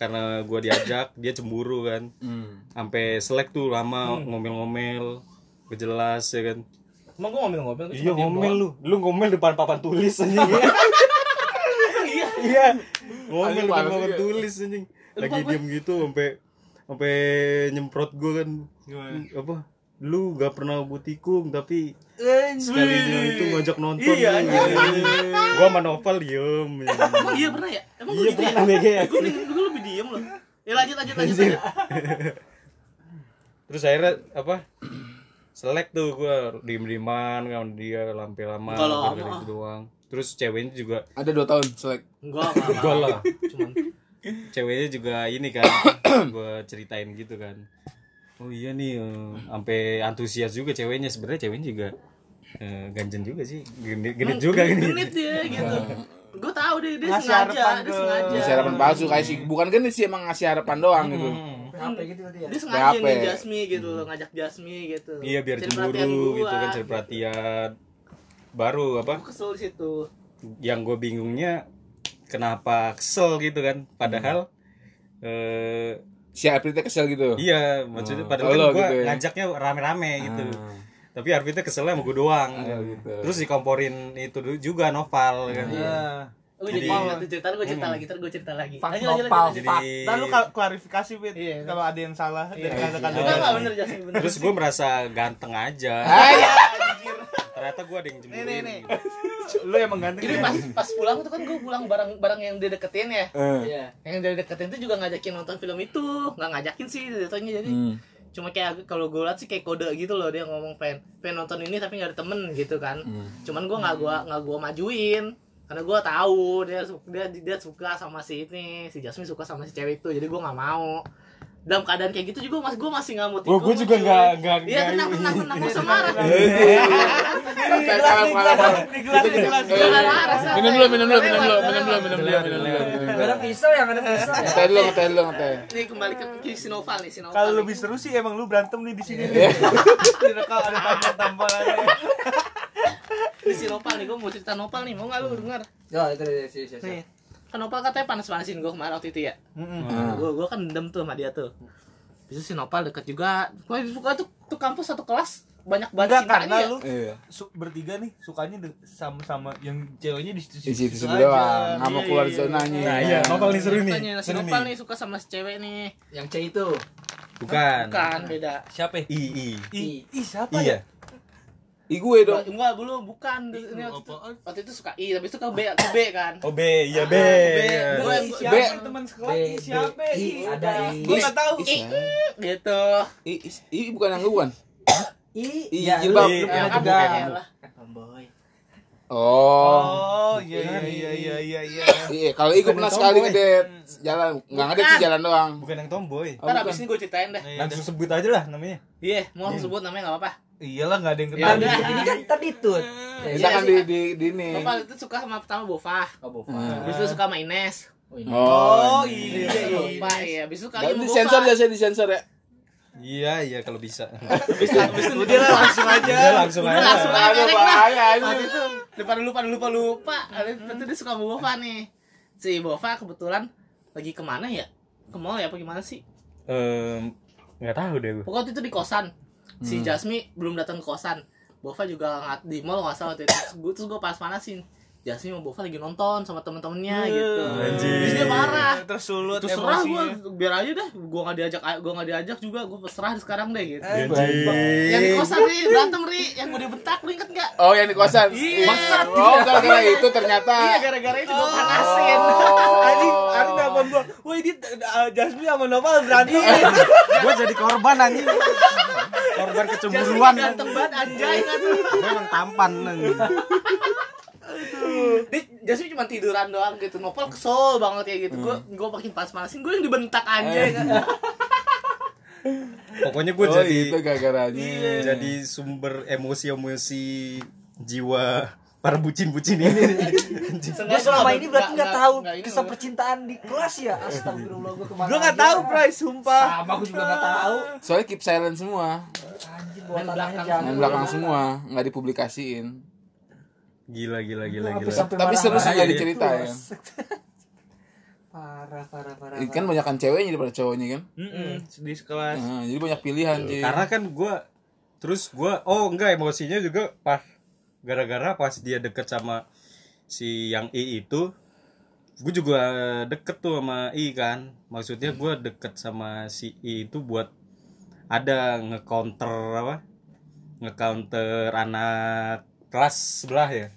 [SPEAKER 4] Karena gue diajak dia cemburu kan. Sampai selek tuh lama ngomel-ngomel, gak jelas ya kan.
[SPEAKER 2] Emang gue ngomel-ngomel.
[SPEAKER 4] Iya ngomel lu, lu ngomel depan papan tulis anjing. Iya. Iya. Ngomel
[SPEAKER 3] Anjing,
[SPEAKER 4] depan
[SPEAKER 3] parah sih
[SPEAKER 4] papan
[SPEAKER 3] dia.
[SPEAKER 4] tulis anjing. Lagi diem gitu sampai sampai nyemprot gua kan. Apa? lu gak pernah gue tikung tapi sekalinya itu ngajak nonton
[SPEAKER 5] Iya,
[SPEAKER 4] lu.
[SPEAKER 5] anjing.
[SPEAKER 4] gua sama Novel diem ya.
[SPEAKER 5] Emang iya pernah ya? Emang
[SPEAKER 4] iya
[SPEAKER 5] iya, gitu
[SPEAKER 4] pernah
[SPEAKER 5] ya?
[SPEAKER 4] BG ya
[SPEAKER 5] Gue gue lebih diem loh. Ya lanjut lanjut lanjut. lanjut.
[SPEAKER 4] terus akhirnya apa selek tuh gua diem dieman kan dia lampe lama
[SPEAKER 5] Kalau
[SPEAKER 4] gara-gara
[SPEAKER 5] apa?
[SPEAKER 4] itu doang terus ceweknya juga
[SPEAKER 3] Ada 2 tahun selek.
[SPEAKER 5] Enggak enggak, enggak.
[SPEAKER 4] Enggak lah.
[SPEAKER 5] Cuman
[SPEAKER 4] ceweknya juga ini kan gua ceritain gitu kan oh iya nih eh, sampai antusias juga ceweknya sebenarnya ceweknya juga eh, ganjen juga sih genit, genit juga kan. genit,
[SPEAKER 5] genit dia gitu. Gue tahu deh dia
[SPEAKER 6] Ngasih
[SPEAKER 5] sengaja,
[SPEAKER 6] harapan
[SPEAKER 5] dia
[SPEAKER 6] ke-
[SPEAKER 5] sengaja.
[SPEAKER 3] Ngasih harapan palsu kayak sih. Bukan kan sih emang ngasih harapan doang gitu.
[SPEAKER 6] Apa gitu tadi ya?
[SPEAKER 5] Dia sengaja
[SPEAKER 3] PHP.
[SPEAKER 5] nih Jasmi gitu loh, ngajak Jasmi gitu.
[SPEAKER 4] iya biar
[SPEAKER 5] Cari perhatian
[SPEAKER 4] cemburu gitu
[SPEAKER 5] gua.
[SPEAKER 4] kan cari perhatian baru apa
[SPEAKER 5] Gua kesel di situ.
[SPEAKER 4] yang gue bingungnya kenapa kesel gitu kan padahal eh
[SPEAKER 3] Si Aprilnya kesel gitu.
[SPEAKER 4] iya maksudnya
[SPEAKER 3] Kalau
[SPEAKER 4] padahal kan gue
[SPEAKER 3] gitu ya. Ah.
[SPEAKER 4] ngajaknya rame-rame gitu tapi Arvita keselnya sama gue doang
[SPEAKER 3] gitu. Iya.
[SPEAKER 4] terus dikomporin itu dulu juga novel kan
[SPEAKER 2] Iya.
[SPEAKER 5] Gue jadi ingat tuh cerita gue cerita lagi, terus gue cerita lagi.
[SPEAKER 1] Fak
[SPEAKER 5] Lanjut lanjut
[SPEAKER 1] nopal,
[SPEAKER 5] lanjut.
[SPEAKER 1] fak.
[SPEAKER 4] jadi
[SPEAKER 6] Lalu klarifikasi Fit
[SPEAKER 5] Iya.
[SPEAKER 6] kalau ada yang salah dari kata-kata
[SPEAKER 5] Enggak enggak bener Jasmi bener.
[SPEAKER 4] terus gue merasa ganteng aja ternyata gue ada yang
[SPEAKER 6] Nih
[SPEAKER 4] cemburuin
[SPEAKER 6] nih nih.
[SPEAKER 4] gitu.
[SPEAKER 6] Lu yang mengganti.
[SPEAKER 5] Jadi pas pas pulang tuh kan gue pulang barang-barang yang dia deketin ya. Yang dia deketin tuh juga ngajakin nonton film itu, nggak ngajakin sih jatuhnya jadi
[SPEAKER 3] Hmm.
[SPEAKER 5] cuma kayak aku- kalau gue liat sih kayak kode gitu loh dia ngomong pengen pengen nonton ini tapi nggak ada temen gitu kan cuman gue nggak gua nggak gua majuin karena gue tahu dia su- dia dia suka sama si ini si Jasmine suka sama si cewek itu jadi gue nggak mau dalam keadaan kayak gitu juga mas gue masih nggak mau
[SPEAKER 4] Wah, gue
[SPEAKER 5] tikung,
[SPEAKER 4] juga
[SPEAKER 5] cuy.
[SPEAKER 4] nggak nggak
[SPEAKER 5] iya tenang tenang tenang nggak usah marah
[SPEAKER 3] Kayak salah pengalaman.
[SPEAKER 2] Iya.
[SPEAKER 3] Iya,
[SPEAKER 5] Nggak marah, santai.
[SPEAKER 3] Minum dulu, minum dulu, minum
[SPEAKER 5] Lewat,
[SPEAKER 3] dulu,
[SPEAKER 5] lewat.
[SPEAKER 3] minum dulu, minum dulu, minum dulu.
[SPEAKER 1] Gak ada pisau yang ada pisau. ya?
[SPEAKER 3] Ngeteh dulu, ngeteh dulu, ngeteh.
[SPEAKER 5] nih kembali ke, ke Sinoval nih Sinoval
[SPEAKER 6] Kalau
[SPEAKER 5] nih.
[SPEAKER 6] lebih seru sih emang lu berantem nih di sini.
[SPEAKER 4] Iya.
[SPEAKER 6] Direkam ada tampol tampolannya.
[SPEAKER 5] Ini si Nopal nih, gue mau cerita Nopal nih, mau gak lu denger?
[SPEAKER 1] Ya, itu dia sih. sih, sih.
[SPEAKER 5] Nih, kan Nopal katanya panas-panasin gue kemarin waktu itu ya
[SPEAKER 3] Nah.
[SPEAKER 5] Gue gue kan dendam tuh sama dia tuh Bisa si Nopal deket juga Gue suka tuh, tuh kampus satu kelas banyak
[SPEAKER 6] Enggak
[SPEAKER 5] banget cintanya
[SPEAKER 6] karena
[SPEAKER 5] ya
[SPEAKER 6] lu
[SPEAKER 3] Iya.
[SPEAKER 6] su- bertiga nih sukanya de- sama-sama yang ceweknya di situ
[SPEAKER 3] Di situ situ doang, nggak mau
[SPEAKER 5] Iya,
[SPEAKER 3] keluar
[SPEAKER 5] iya,
[SPEAKER 3] zonanya.
[SPEAKER 4] nah iya novel nih seru nih
[SPEAKER 5] Katanya si
[SPEAKER 4] seru
[SPEAKER 5] Nopal
[SPEAKER 4] nih
[SPEAKER 5] nih suka sama si cewek nih
[SPEAKER 1] Yang C itu.
[SPEAKER 4] bukan
[SPEAKER 5] Bukan, beda
[SPEAKER 2] Siapa ya?
[SPEAKER 4] i i
[SPEAKER 6] Ih, ih, siapa ya?
[SPEAKER 4] iya
[SPEAKER 3] Ih gue dong.
[SPEAKER 5] Enggak, belum, bukan Ini waktu, itu, waktu itu suka I, tapi suka B, ke B kan
[SPEAKER 4] oh b iya b iya.
[SPEAKER 5] Gue
[SPEAKER 6] Ih,
[SPEAKER 5] gue-
[SPEAKER 6] siapa
[SPEAKER 3] Be-
[SPEAKER 6] yang teman sekelas? Ih, siapa?
[SPEAKER 1] B, I,
[SPEAKER 6] Ih,
[SPEAKER 1] ada I.
[SPEAKER 6] Gua enggak tahu.
[SPEAKER 3] Is-
[SPEAKER 5] gitu
[SPEAKER 3] I- is- I bukan yang lu bukan?
[SPEAKER 1] I,
[SPEAKER 3] I
[SPEAKER 1] ya,
[SPEAKER 3] jilbab.
[SPEAKER 1] lu-
[SPEAKER 4] Iya,
[SPEAKER 1] ya,
[SPEAKER 5] Kan,
[SPEAKER 1] kan, bukan,
[SPEAKER 5] ya
[SPEAKER 1] ya,
[SPEAKER 5] lah.
[SPEAKER 1] bukan tomboy.
[SPEAKER 3] Oh.
[SPEAKER 6] Oh, iya iya iya iya iya iya.
[SPEAKER 3] Iya, kalau I gue pernah sekali ngedet jalan, nggak ngedet sih
[SPEAKER 5] Bukan.
[SPEAKER 3] jalan doang.
[SPEAKER 4] bukan yang tomboy
[SPEAKER 3] Oh,
[SPEAKER 5] Ntar
[SPEAKER 3] bukan.
[SPEAKER 5] abis ini gue ceritain deh
[SPEAKER 4] langsung sebut aja lah namanya
[SPEAKER 5] Iya, mau langsung sebut namanya gak apa-apa
[SPEAKER 6] Iyalah enggak ada yang
[SPEAKER 1] Nah,
[SPEAKER 6] kenal.
[SPEAKER 1] ini ini kan tadi tuh. Eh,
[SPEAKER 3] Kita kan di di di ini.
[SPEAKER 5] Nopal itu suka sama pertama Bova
[SPEAKER 1] Oh, Bova.
[SPEAKER 5] Abis itu suka sama Ines
[SPEAKER 3] Oh.
[SPEAKER 6] iya.
[SPEAKER 5] lupa ya abis itu kali
[SPEAKER 3] Nggak,
[SPEAKER 5] mau
[SPEAKER 3] Di
[SPEAKER 5] gua
[SPEAKER 3] sensor
[SPEAKER 5] Pak.
[SPEAKER 3] biasanya di sensor ya.
[SPEAKER 4] iya iya kalau bisa
[SPEAKER 6] Udah lah langsung aja.
[SPEAKER 4] udah langsung
[SPEAKER 5] udah langsung
[SPEAKER 4] aja
[SPEAKER 5] aja
[SPEAKER 3] Ada
[SPEAKER 5] Rek, lah
[SPEAKER 3] bahaya
[SPEAKER 5] Waktu
[SPEAKER 3] ini.
[SPEAKER 5] itu lupa lupa lupa lupa itu dia suka sama Bova nih si Bova kebetulan lagi kemana ya ke mall ya apa gimana sih
[SPEAKER 4] Em, nggak tahu deh gue
[SPEAKER 5] pokoknya waktu itu di kosan
[SPEAKER 3] Hmm.
[SPEAKER 5] si Jasmi belum datang ke kosan Bova juga ngat di mall nggak salah waktu itu terus gue terus gue pas panasin Jasmi sama Bova lagi nonton sama temen-temennya
[SPEAKER 6] Iya.
[SPEAKER 5] gitu
[SPEAKER 4] Anjir.
[SPEAKER 5] terus dia marah
[SPEAKER 6] Tersulut
[SPEAKER 5] terserah gue
[SPEAKER 6] emosinya.
[SPEAKER 5] biar aja deh gue nggak diajak gue nggak diajak juga gue terserah sekarang deh gitu yang di
[SPEAKER 4] Anjing.
[SPEAKER 5] kosan ri berantem ri yang gue dibentak lu inget nggak
[SPEAKER 3] Oh, yang di kosan. Iya. Oh, gara-gara itu ternyata. Oh,
[SPEAKER 5] iya gara-gara itu gue panasin
[SPEAKER 6] Tadi Ari telepon gua, "Wah, ini
[SPEAKER 2] ah,
[SPEAKER 6] uh, Jasmine sama Nopal berantem."
[SPEAKER 4] Iya. gue jadi korban anjing korban
[SPEAKER 5] Jasmine
[SPEAKER 4] kecemburuan
[SPEAKER 5] ganteng banget anjay kan
[SPEAKER 4] gue emang tampan anjing
[SPEAKER 5] dia Jasmine cuma tiduran doang gitu nopal kesel banget kayak gitu gue gue makin pas-panasin gue yang dibentak anjay kan
[SPEAKER 4] pokoknya gue
[SPEAKER 3] Oh,
[SPEAKER 4] jadi
[SPEAKER 3] itu gara-garanya.
[SPEAKER 4] jadi sumber emosi-emosi jiwa para bucin-bucin ini
[SPEAKER 5] Sengaja
[SPEAKER 2] Gue selama
[SPEAKER 5] nggak-
[SPEAKER 2] ini berarti nggak tahu
[SPEAKER 5] nggak ini
[SPEAKER 2] kisah
[SPEAKER 5] loh.
[SPEAKER 2] percintaan di kelas ya. Astagfirullah gue kemana?
[SPEAKER 6] Gua enggak tahu, Bray,
[SPEAKER 1] Ah,
[SPEAKER 6] sumpah.
[SPEAKER 2] Sama gue juga nggak tahu.
[SPEAKER 3] Soalnya keep silent semua,
[SPEAKER 2] Anjir bawa
[SPEAKER 5] Main
[SPEAKER 2] tanahnya
[SPEAKER 5] belakang
[SPEAKER 2] jago.
[SPEAKER 3] main belakang semua, nggak dipublikasiin.
[SPEAKER 4] gila gila gila
[SPEAKER 2] Sampai-
[SPEAKER 4] gila
[SPEAKER 2] sampai
[SPEAKER 3] Tapi seru sih
[SPEAKER 2] marah-marah
[SPEAKER 3] jadi
[SPEAKER 4] iya.
[SPEAKER 3] cerita ya.
[SPEAKER 2] Terus. Parah parah parah.
[SPEAKER 3] Kan
[SPEAKER 2] parah.
[SPEAKER 3] banyakan ceweknya daripada cowoknya kan.
[SPEAKER 4] Mm.
[SPEAKER 6] Heeh, di kelas.
[SPEAKER 3] Nah, jadi banyak pilihan sih.
[SPEAKER 4] karena kan gue terus gue oh enggak emosinya juga pas gara-gara pas dia deket sama si yang I itu gue juga deket tuh sama I kan maksudnya gue deket sama si I itu buat ada ngecounter apa ngecounter anak kelas sebelah ya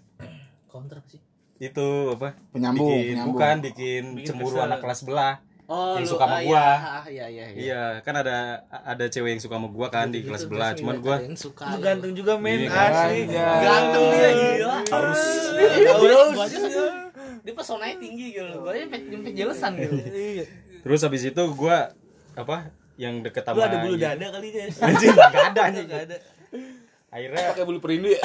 [SPEAKER 5] Kontrak sih.
[SPEAKER 4] itu apa
[SPEAKER 3] Penyambung,
[SPEAKER 4] bikin,
[SPEAKER 3] penyambung.
[SPEAKER 4] bukan bikin,
[SPEAKER 2] Bikin
[SPEAKER 4] cemburu
[SPEAKER 2] kesel.
[SPEAKER 4] anak kelas sebelah
[SPEAKER 5] Oh,
[SPEAKER 4] Yang
[SPEAKER 5] lu-
[SPEAKER 4] suka sama
[SPEAKER 5] ah,
[SPEAKER 4] gua.
[SPEAKER 5] Iya, iya, iya. iya.
[SPEAKER 4] Iya, kan ada ada cewek yang suka sama gua kan di
[SPEAKER 5] Gitu,
[SPEAKER 4] kelas
[SPEAKER 5] terus
[SPEAKER 4] sebelah. Cuman gua
[SPEAKER 5] ngeliatin suka.
[SPEAKER 2] Lu ganteng juga men,
[SPEAKER 4] Iya, iya.
[SPEAKER 2] asli.
[SPEAKER 3] iya.
[SPEAKER 5] Ganteng dia gila.
[SPEAKER 4] harus
[SPEAKER 5] Harus. Gua aja sakit. Dia pesonanya tinggi gitu. Gua aja sampai sampai jelesan gitu.
[SPEAKER 2] Iya.
[SPEAKER 4] terus habis itu gua apa yang deket sama
[SPEAKER 2] Lu ada bulu dada kali ya.
[SPEAKER 4] anjing enggak ada anjing.
[SPEAKER 2] Enggak ada.
[SPEAKER 4] Akhirnya
[SPEAKER 3] Pakai bulu perindu ya.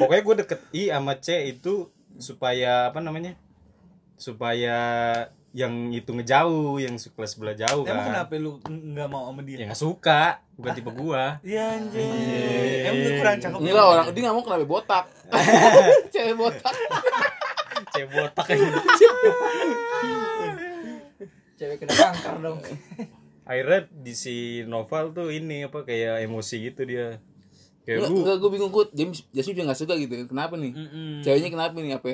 [SPEAKER 4] pokoknya gua deket I sama C itu supaya apa namanya? Supaya yang itu ngejauh, yang su- kelas sebelah jauh kan.
[SPEAKER 2] Emang kenapa lu enggak mau sama
[SPEAKER 4] Ya
[SPEAKER 2] dia?
[SPEAKER 4] nggak suka, bukan tipe gua.
[SPEAKER 2] Iya anjir. Emang lu kurang cakep.
[SPEAKER 3] Ini lah orang dia nggak mau kenapa botak. Cewek botak.
[SPEAKER 4] C botak aja.
[SPEAKER 1] Cewek kena kanker dong.
[SPEAKER 4] Akhirnya di si Noval tuh ini apa kayak emosi gitu dia. Kayak "Uh, bu,
[SPEAKER 3] Enggak, gue bingung kut. James Jasmine juga nggak suka gitu. Kenapa nih? Ceweknya kenapa nih? Apa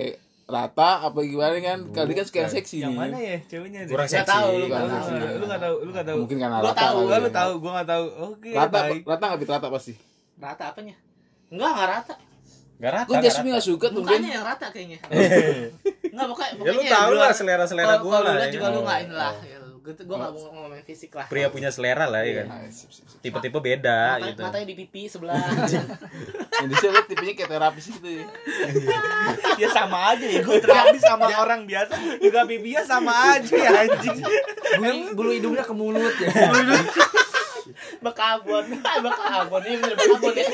[SPEAKER 3] rata? Apa gimana kan? Kali kan suka yang seksi
[SPEAKER 2] Yang
[SPEAKER 3] nih.
[SPEAKER 2] mana ya ceweknya?
[SPEAKER 4] kurang
[SPEAKER 5] Nggak
[SPEAKER 4] seksi.
[SPEAKER 5] tahu, lu
[SPEAKER 4] kurang
[SPEAKER 5] nggak
[SPEAKER 4] seksi.
[SPEAKER 3] tahu.
[SPEAKER 2] Lu enggak tahu, lu enggak tahu.
[SPEAKER 3] Mungkin karena
[SPEAKER 5] Gua
[SPEAKER 3] rata.
[SPEAKER 5] tahu, Iya,
[SPEAKER 3] kali
[SPEAKER 2] Enggak
[SPEAKER 3] ya.
[SPEAKER 2] lu tahu, gua nggak tahu. Oke,
[SPEAKER 3] Rata,
[SPEAKER 2] baik.
[SPEAKER 3] rata nggak Pit? rata pasti.
[SPEAKER 5] Rata apanya? Enggak, enggak rata.
[SPEAKER 4] Gak rata.
[SPEAKER 3] Gue
[SPEAKER 4] nggak
[SPEAKER 3] Jasmine
[SPEAKER 4] rata.
[SPEAKER 3] nggak suka tuh
[SPEAKER 5] Mukanya yang rata kayaknya. Enggak pokoknya
[SPEAKER 4] Ya lu
[SPEAKER 5] pokoknya
[SPEAKER 4] tahu
[SPEAKER 5] di luar-
[SPEAKER 4] lah selera-selera
[SPEAKER 5] kalau-
[SPEAKER 4] gua
[SPEAKER 5] kalau
[SPEAKER 4] lah.
[SPEAKER 5] lihat
[SPEAKER 4] ya.
[SPEAKER 5] juga lu enggak ini lah. Gue gua enggak mau ngomongin fisik lah.
[SPEAKER 4] Pria punya selera lah ya kan.
[SPEAKER 3] Ah,
[SPEAKER 4] Tipe-tipe beda
[SPEAKER 5] Mata-
[SPEAKER 4] gitu.
[SPEAKER 5] Matanya di pipi sebelah.
[SPEAKER 3] Indonesia lu tipenya kayak terapis gitu ya.
[SPEAKER 2] Ya sama aja ya. Gua terapi sama orang biasa juga pipinya sama aja ya anjing.
[SPEAKER 1] Bulu, bulu hidungnya ke mulut ya.
[SPEAKER 5] Bekabon. Ah, Bekabon. Ini bener Bekabon ya.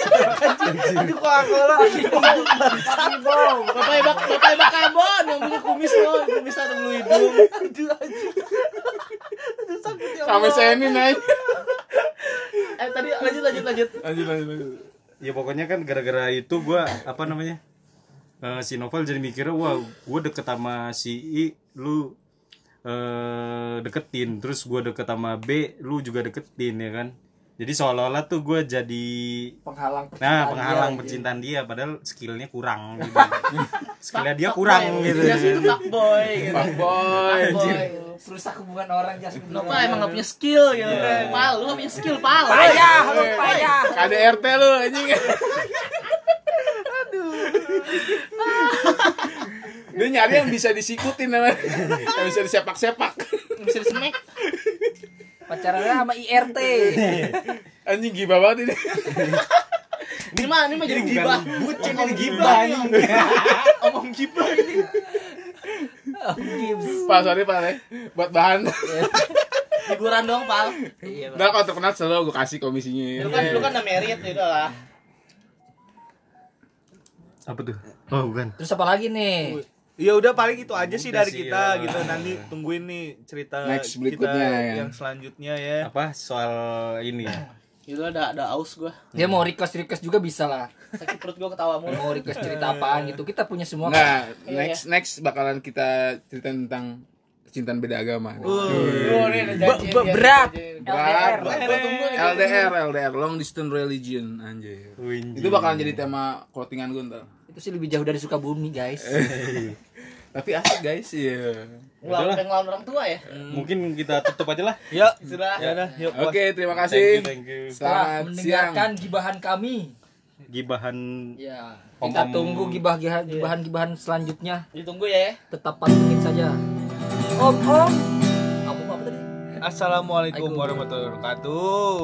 [SPEAKER 2] Aduh kok aku lah.
[SPEAKER 5] Bapak Bak Bapak Bekabon yang punya kumis lo, kumis atau bulu hidung. Aduh anjing. Aduh sakit ya.
[SPEAKER 3] Sampai
[SPEAKER 5] Allah.
[SPEAKER 3] seni nih.
[SPEAKER 5] Eh tadi lanjut lanjut lanjut.
[SPEAKER 4] Ya pokoknya kan gara-gara itu gua apa namanya? eh, si Novel jadi mikirnya wah gua deket sama si I lu eh deketin terus gua deket sama B lu juga deketin ya kan. Jadi seolah-olah tuh gua jadi
[SPEAKER 1] Penghalang.
[SPEAKER 4] nah
[SPEAKER 1] percintaan
[SPEAKER 4] penghalang
[SPEAKER 1] dia, anjing.
[SPEAKER 4] percintaan dia padahal skillnya kurang gitu. skillnya dia kurang gitu.
[SPEAKER 5] Dia sih itu fuckboy
[SPEAKER 3] Iya.
[SPEAKER 5] gitu.
[SPEAKER 3] Boy.
[SPEAKER 5] Fuckboy.
[SPEAKER 1] Rusak hubungan orang Jasmine.
[SPEAKER 5] Nopal emang gak punya skill gitu. Pal, lu gak punya skill, Pal.
[SPEAKER 1] Payah, lu payah.
[SPEAKER 3] KDRT lu anjing. Dia nyari yang bisa disikutin namanya. Yang bisa disepak-sepak.
[SPEAKER 5] Bisa disemek.
[SPEAKER 1] Pacarannya sama IRT.
[SPEAKER 3] Anjing gila banget ini.
[SPEAKER 5] Ini mah, ini mah jadi gibah.
[SPEAKER 4] bucin ini gibah ini.
[SPEAKER 5] Omong gibah ini.
[SPEAKER 1] Oh, Gibbs.
[SPEAKER 3] Pak, sorry Pak, ya. buat bahan.
[SPEAKER 5] Iya, Hiburan dong, Pal. Iya,
[SPEAKER 3] Nah, kalau terkenal selalu gue kasih komisinya.
[SPEAKER 5] Lu kan lu kan udah merit gitu lah.
[SPEAKER 4] Apa tuh? Oh bukan.
[SPEAKER 1] Terus apa lagi nih?
[SPEAKER 2] Ya udah paling itu aja sih
[SPEAKER 4] Udah
[SPEAKER 2] dari
[SPEAKER 4] sih,
[SPEAKER 2] kita
[SPEAKER 4] ya.
[SPEAKER 2] gitu. Nanti tungguin nih cerita
[SPEAKER 3] Next
[SPEAKER 2] kita
[SPEAKER 3] berikutnya, ya.
[SPEAKER 2] yang selanjutnya ya.
[SPEAKER 4] apa soal ini ya
[SPEAKER 5] Gitu ada ada aus gua.
[SPEAKER 1] Dia mau request request juga bisa lah.
[SPEAKER 5] Sakit perut gua ketawa mulu.
[SPEAKER 1] Mau request cerita apaan gitu. Kita punya semua. kan.
[SPEAKER 3] Nah,
[SPEAKER 4] iya,
[SPEAKER 3] next next bakalan kita cerita tentang kecintaan beda agama.
[SPEAKER 5] Lu nih ada janji.
[SPEAKER 2] Be- berat.
[SPEAKER 5] iya,
[SPEAKER 3] Berat,
[SPEAKER 1] LDR.
[SPEAKER 3] berat. LDR, LDR, long distance religion anjir.
[SPEAKER 4] Winji.
[SPEAKER 3] Itu bakalan jadi tema clothingan gue ntar.
[SPEAKER 1] Itu sih lebih jauh dari Sukabumi, guys.
[SPEAKER 3] Eh, Tapi asik guys, iya.
[SPEAKER 5] Ngelawan pengen ngelawan orang tua ya.
[SPEAKER 4] mungkin kita tutup aja lah
[SPEAKER 2] Yuk,
[SPEAKER 5] Sudah.
[SPEAKER 2] ya udah, yuk.
[SPEAKER 3] Oke, terima
[SPEAKER 4] thank you
[SPEAKER 3] kasih.
[SPEAKER 4] thank you
[SPEAKER 1] Telah
[SPEAKER 3] Selamat siang.
[SPEAKER 1] mendengarkan gibahan kami.
[SPEAKER 4] gibahan
[SPEAKER 5] Iya.
[SPEAKER 1] Ya,
[SPEAKER 4] Om-om.
[SPEAKER 1] kita tunggu gibah-gibahan gibahan selanjutnya.
[SPEAKER 5] Ditunggu ya.
[SPEAKER 1] Tetap pantengin saja. Om, om. Kamu apa tadi?
[SPEAKER 2] Assalamualaikum warahmatullahi wabarakatuh.